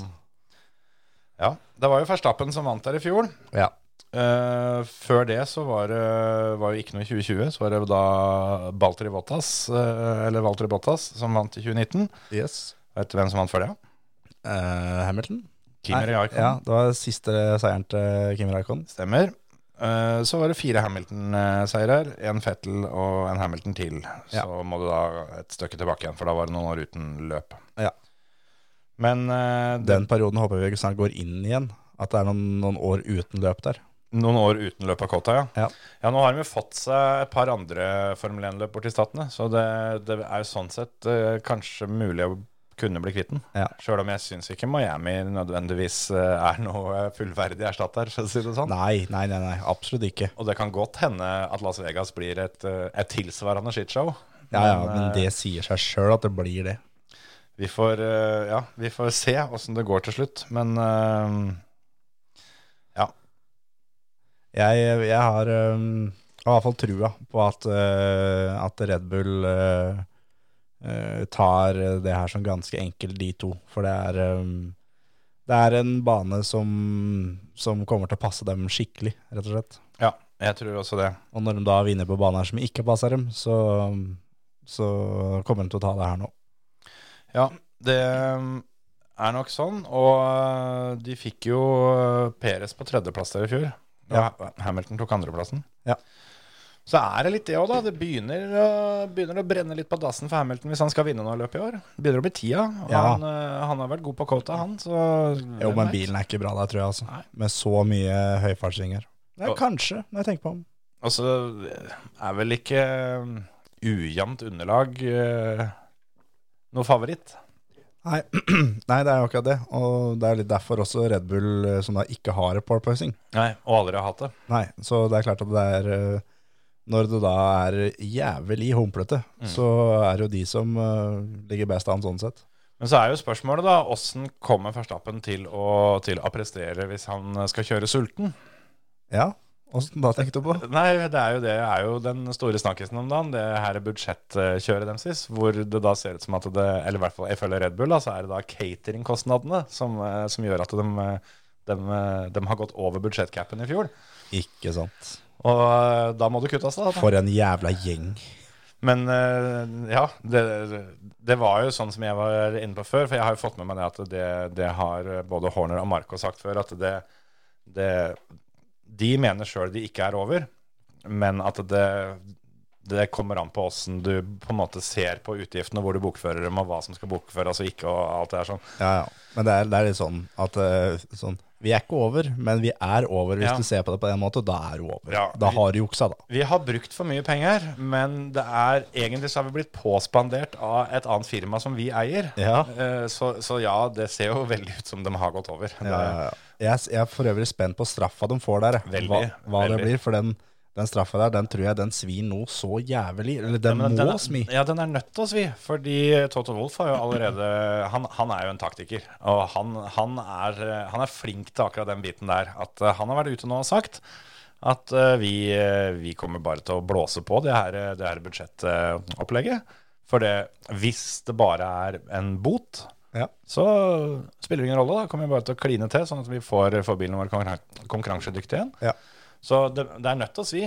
B: Ja. Det var jo Verstappen som vant der i fjor.
C: Ja.
B: Eh, før det så var det var jo ikke noe i 2020. Så var det da Baltri Bottas, eh, eller Valtri Bottas, som vant i 2019.
C: Yes.
B: Vet du hvem som vant før det?
C: Eh, Hamilton?
B: Kimi
C: Nei,
B: Raikkonen.
C: Ja, det var siste seieren til Kim Raikon.
B: Stemmer. Eh, Så var det fire Hamilton-seirer, en Fettel og en Hamilton til. Så må du da et stykke tilbake igjen, for da var det noen år uten løp.
C: Ja.
B: Men eh, det,
C: Den perioden håper vi snart går inn igjen. At det er noen, noen år uten løp der.
B: noen år uten løp av Kota, ja.
C: Ja.
B: nå har de jo fått seg et par andre Formel 1-løp borti statene, så det, det er jo sånn sett eh, kanskje mulig å kunne bli kvitt den.
C: Ja.
B: Sjøl om jeg syns ikke Miami nødvendigvis eh, er noe fullverdig erstatter, for å si det sånn.
C: Nei, nei, nei, nei, absolutt ikke.
B: Og det kan godt hende at Las Vegas blir et, eh, et tilsvarende shitshow.
C: Ja, ja,
B: Men,
C: Men
B: eh,
C: det sier seg sjøl at det blir det.
B: Vi får, eh, ja, vi får se åssen det går til slutt, men eh,
C: Jeg, jeg har øhm, i hvert fall trua på at, øh, at Red Bull øh, øh, tar det her som ganske enkelt, de to. For det er, øhm, det er en bane som, som kommer til å passe dem skikkelig, rett og slett.
B: ja, jeg tror også det.
C: Og når de da vinner på baner som ikke passer dem, så, så kommer de til å ta det her nå.
B: Ja, det eh, er nok sånn, og eh, de fikk jo eh, Perez på tredjeplass der i fjor. Ja, Hamilton tok andreplassen.
C: Ja.
B: Så er det litt det òg, da. Det begynner å, begynner å brenne litt på dassen for Hamilton hvis han skal vinne noe løp i år. Begynner å bli tida. Og
C: Ja.
B: han, eh, han har vært god på kota, han. Så
C: Jo, men bilen er ikke bra der, tror jeg, altså.
B: Nei.
C: Med så mye høyfartsringer. Ja, kanskje, når jeg tenker på ham.
B: Og så Altså, er vel ikke um, ujevnt underlag uh, noe favoritt.
C: Nei. Nei, det er jo akkurat det. Og det er litt derfor også Red Bull, eh, som da ikke har et pole pricing.
B: Nei, og aldri har hatt det.
C: Nei, så det er klart at det er eh, Når det da er jævlig humplete, så er det jo de som eh, ligger best an sånn sett.
B: Men så er jo spørsmålet, da, åssen kommer Verstappen til å, til å prestere hvis han skal kjøre sulten?
C: Ja, Åssen da tenkte du på?
B: Nei, det er jo det er jo den store snakkisen om dagen. Det her er budsjettkjøret deres sist, hvor det da ser ut som at det Eller i hvert fall ifølge Red Bull, da, så er det da cateringkostnadene som, eh, som gjør at eh, de, de, de har gått over budsjettcapen i fjor.
C: Ikke sant.
B: Og eh, da må du kutte av seg.
C: For en jævla gjeng.
B: Men eh, ja, det, det var jo sånn som jeg var inne på før, for jeg har jo fått med meg det at det, det har både Horner og Marco sagt før, at det, det De mener sjøl de ikke er over, men at det det kommer an på åssen du på en måte ser på utgiftene, hvor du bokfører dem, og hva som skal bokføres og ikke, og alt det her sånn.
C: Ja, ja. Men det er, det er litt sånn at eh, sånn, Vi er ikke over, men vi er over hvis
B: Ja.
C: du ser på det på den måten. Da er du over.
B: Ja.
C: Da har du juksa, da.
B: Vi har brukt for mye penger, men det er egentlig så har vi blitt påspandert av et annet firma som vi eier.
C: Ja.
B: Eh, Så, så ja, det ser jo veldig ut som de har gått over.
C: Ja, ja, ja. Jeg, jeg er for øvrig spent på straffa de får der. jeg.
B: Veldig,
C: hva hva
B: veldig.
C: det blir. For den, den straffa der, den tror jeg den svir nå så jævlig. Eller den
B: Men
C: må
B: den,
C: smi.
B: Ja, den er nødt til å svi. Fordi Toto Wolff har jo allerede Han, han er jo en taktiker. Og han, han, er, han er flink til akkurat den biten der. At eh, han har vært ute nå og sagt at eh, vi, eh, vi kommer bare til å blåse på det her, eh, det her budsjettopplegget. For det, hvis det bare er en bot,
C: Ja.
B: så spiller det ingen rolle. Da kommer vi bare til å kline til, sånn at vi får, får bilen vår konkurran- konkurransedyktig igjen.
C: Ja.
B: Så det, det er nødt til å svi.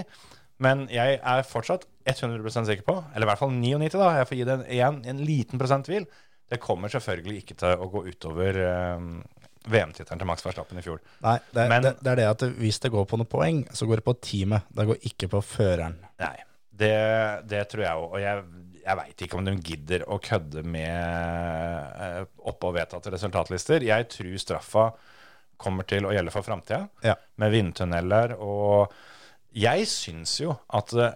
B: Men jeg er fortsatt 100 sikker på, eller i hvert fall 99 da, jeg får gi det en, en, en liten prosent tvil, det kommer selvfølgelig ikke til å gå utover eh, VM-tittelen til Max Verstappen i fjor.
C: Nei, det, er-
B: Men-
C: det, det er det at det- hvis det går på noen poeng, så går det på teamet. Det går ikke på føreren.
B: Nei, det, det tror jeg òg. Og jeg, jeg veit ikke om de gidder å kødde med eh, oppe- og vedtatte resultatlister. Jeg tror straffa kommer til å gjelde for framtida,
C: Ja.
B: med vindtunneler og Jeg syns jo at eh,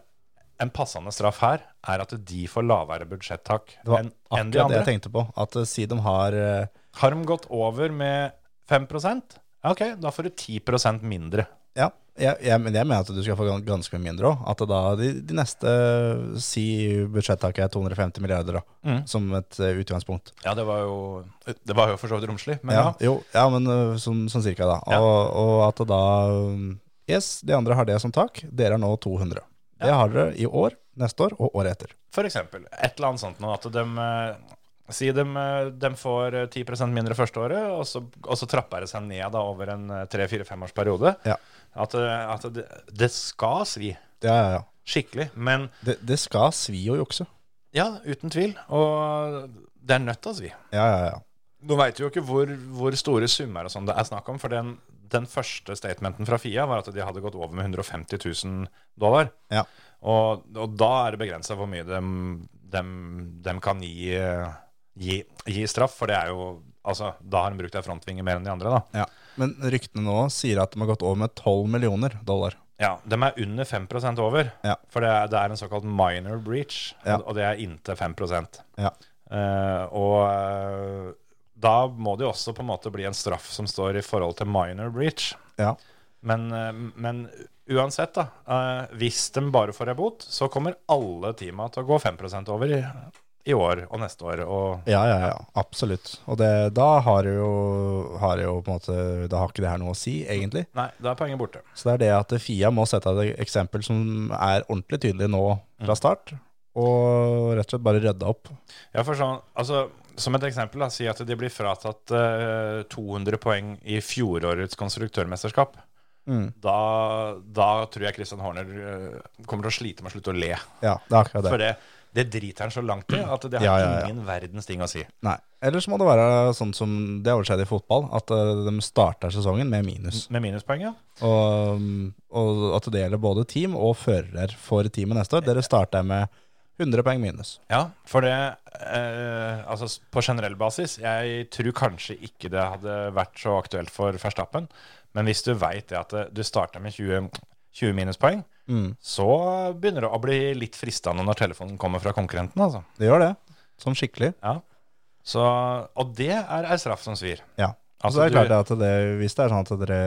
B: en passende straff her er at de får lavere budsjettak
C: Det var
B: enn enn
C: akkurat
B: de
C: det jeg
B: andre.
C: tenkte på. At eh, si de har eh,
B: Har de gått over med 5 Ja, OK, da får du 10 mindre.
C: Ja, jeg, jeg, men jeg mener at du skal få gan- ganske mye mindre òg. At da de, de neste Si budsjettaket er 250 milliarder, da,
B: Mm.
C: som et eh, utgangspunkt.
B: Ja, det var jo, det var jo for så vidt romslig, men ja.
C: Ja, jo, ja men eh, sånn, sånn cirka, da.
B: Ja.
C: Og, og at da mm, Yes, de andre har det som tak. Dere er nå 200. Det har dere i år, neste år og året etter.
B: For eksempel, et eller annet sånt nå, at de, eh, si de, eh, de får eh, 10 mindre første året, og så, og så trapper det seg ned da, over en eh, 3-4-5 års periode.
C: Ja.
B: At, eh, at det, det skal svi
C: Ja, ja, ja.
B: skikkelig, men
C: Det, det skal svi å jukse.
B: ja, uten tvil, og det er nødt til å svi.
C: Ja, ja, ja.
B: Nå veit jo ikke hvor, hvor store summer og sånn det er snakk om, for den, den første statementen fra FIA var at de hadde gått over med 150 000 dollar.
C: Ja.
B: Og, og da er det begrensa hvor mye dem, dem, dem kan gi, eh, gi, gi straff, for det er jo Altså, da har de brukt ei frontvinge mer enn de andre, da.
C: ja. Men ryktene nå sier at de har gått over med 12 millioner dollar.
B: Ja, De er under 5 over,
C: Ja.
B: for det er, det er en såkalt minor breach,
C: Ja.
B: og, og det er inntil 5
C: Ja.
B: Eh, og eh, da må det jo også på en måte bli en straff som står i forhold til minor breach.
C: Ja.
B: Men, eh, men uansett, da. eh, hvis de bare får ei bot, så kommer alle teama til å gå 5 over i, i år og neste år. Og
C: Ja, ja, ja, absolutt. Og det, da har det jo, har det jo på en måte Da har ikke det her noe å si, egentlig.
B: nei, da er poenget borte.
C: Så det er det at Fia må sette et eksempel som er ordentlig tydelig nå fra start, og rett og slett bare rydde opp.
B: Ja, for sånn, altså, Som et eksempel, da, si at de blir fratatt eh, 200 poeng i fjorårets konstruktørmesterskap. Da, da tror jeg Christian Horner eh, kommer til å slite med å slutte å le.
C: Ja, det er akkurat
B: For
C: det.
B: det, det driter han så langt i at det har
C: Ja, ja, ja.
B: ingen verdens ting å si.
C: Nei. Eller så må det være sånn som det har skjedd i fotball, at eh, de starter sesongen med minus.
B: Med minuspoeng, ja.
C: Og, og at det gjelder både team og fører for teamet neste år. Dere starter med 100 poeng minus.
B: Ja, for det eh, Altså s- på generell basis, jeg tror kanskje ikke det hadde vært så aktuelt for Verstappen. Men hvis du veit det at eh, du starter med 20, 20 minuspoeng,
C: Mm.
B: så begynner det å bli litt fristende når telefonen kommer fra konkurrenten, altså.
C: Det gjør det. Sånn skikkelig.
B: Ja. Så, og det er ei straff som svir.
C: Ja.
B: Altså,
C: Altså, det er
B: du-
C: klart at det, hvis det er sånn at dere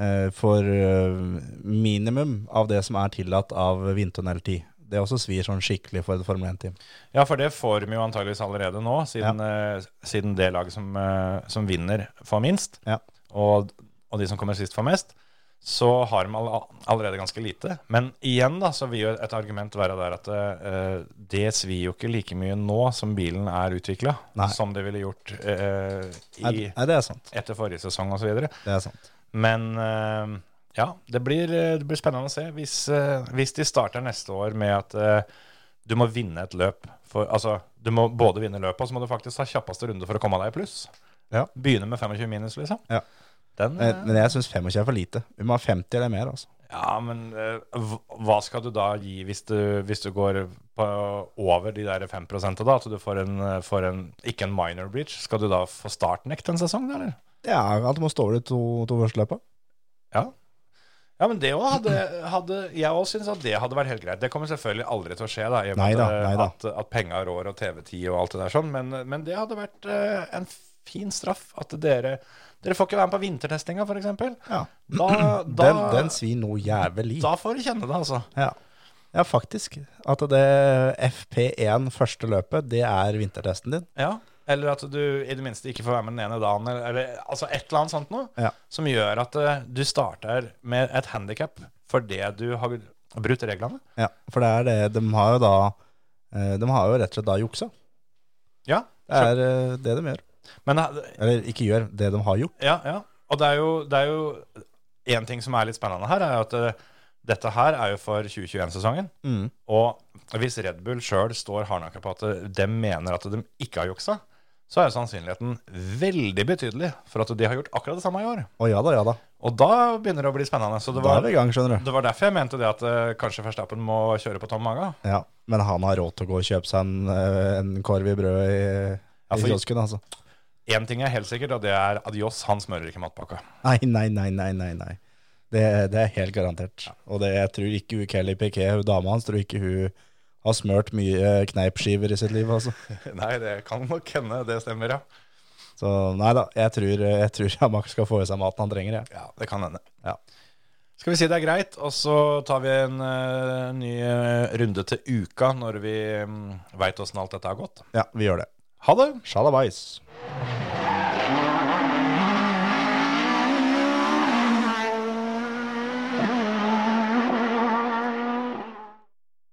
C: eh, får eh, minimum av det som er tillatt av vindtunneltid, det også svir sånn skikkelig for et Formel 1-team.
B: Ja, for det får de jo antageligvis allerede nå, siden, eh, siden det laget som, eh, som vinner, får minst,
C: Ja.
B: og, og de som kommer sist, får mest. så har de all- allerede ganske lite. Men igjen da, så vil jo et argument være der at eh, det svir jo ikke like mye nå som bilen er utvikla,
C: Nei.
B: som det ville gjort eh,
C: Nei,
B: i,
C: nei, det er sant.
B: etter forrige sesong osv.
C: Det er sant.
B: Men eh, ja, det blir, eh, det blir spennende å se. Hvis, eh, hvis de starter neste år med at eh, du må vinne et løp for, Altså, du må både vinne løpet, og så må du faktisk ta kjappeste runde for å komme deg i pluss.
C: Ja.
B: Begynne med 25 minus, liksom.
C: Ja.
B: Den, eh,
C: Men, men jeg syns 25 er for lite. Vi må ha 50 eller mer, altså.
B: Ja, men eh, hv- hva skal du da gi hvis du, hvis du går på, over de der 5 da? At du får en, eh, får en ikke en minor breach? Skal du da få startnekt en sesong, da, eller?
C: Ja, at du må stå over de to, to første løpa.
B: Ja. Ja, men det òg hadde, hadde Jeg òg syns at det hadde vært helt greit. Det kommer selvfølgelig aldri til å skje, da, i og med
C: Neida,
B: at, eh,
C: neida.
B: at, at penga rår og TV-tid og alt det der sånn, men, men det hadde vært eh, en fin straff. At dere Dere får ikke være med på vintertestinga, f.eks.
C: Ja.
B: Da, da,
C: Den, den svir noe jævlig.
B: da får du kjenne det, altså.
C: Ja. ja, faktisk. At det FP1 første løpet, det er vintertesten din.
B: Ja, eller at du i det minste ikke får være med den ene dagen, eller, eller altså et eller annet sånt noe,
C: Ja.
B: som gjør at eh, du starter med et handikap for det du har brutt reglene.
C: Ja, for det er det. De har jo da eh, De har jo rett og slett da juksa.
B: Ja,
C: Det er eh, det de gjør.
B: men eh,
C: Eller ikke gjør, det de har gjort.
B: ja, ja. Og det er jo, det er jo en ting som er litt spennende her, er jo at eh, dette her er jo for 2021-sesongen,
C: Mm.
B: og hvis Red Bull selv står hardnakka på at de mener at de ikke har juksa, så er jo sannsynligheten veldig betydelig for at de har gjort akkurat det samme i år.
C: Å ja da, ja da.
B: Og da begynner det å bli spennende. Så det
C: Da
B: var,
C: er vi i gang, skjønner du.
B: Det var derfor jeg mente det at eh, kanskje Verstappen må kjøre på tom mage.
C: Ja, Men han har råd til å gå og kjøpe seg en, eh, en korv i brød i,
B: Ja, for-
C: i kiosken, altså.
B: Én ting er helt sikkert, og det er adios, han smører ikke matpakka.
C: Nei, nei, nei, nei, nei. nei. Det, det er helt garantert. Og det, jeg tror ikke hun Kelly Piquet, hun dama hans, tror ikke hun har smørt mye kneipskiver i sitt liv, altså.
B: Nei, det kan nok hende, det stemmer, ja.
C: Så nei da, jeg tror, eh, jeg tror han Max skal få i seg maten han trenger, jeg.
B: Ja, Det kan hende.
C: Ja.
B: Skal vi si det er greit, og så tar vi en eh, ny eh, runde til uka når vi um, veit mm, åssen alt dette har gått.
C: Ja, vi gjør det.
B: Ha det!
C: Sjalabais.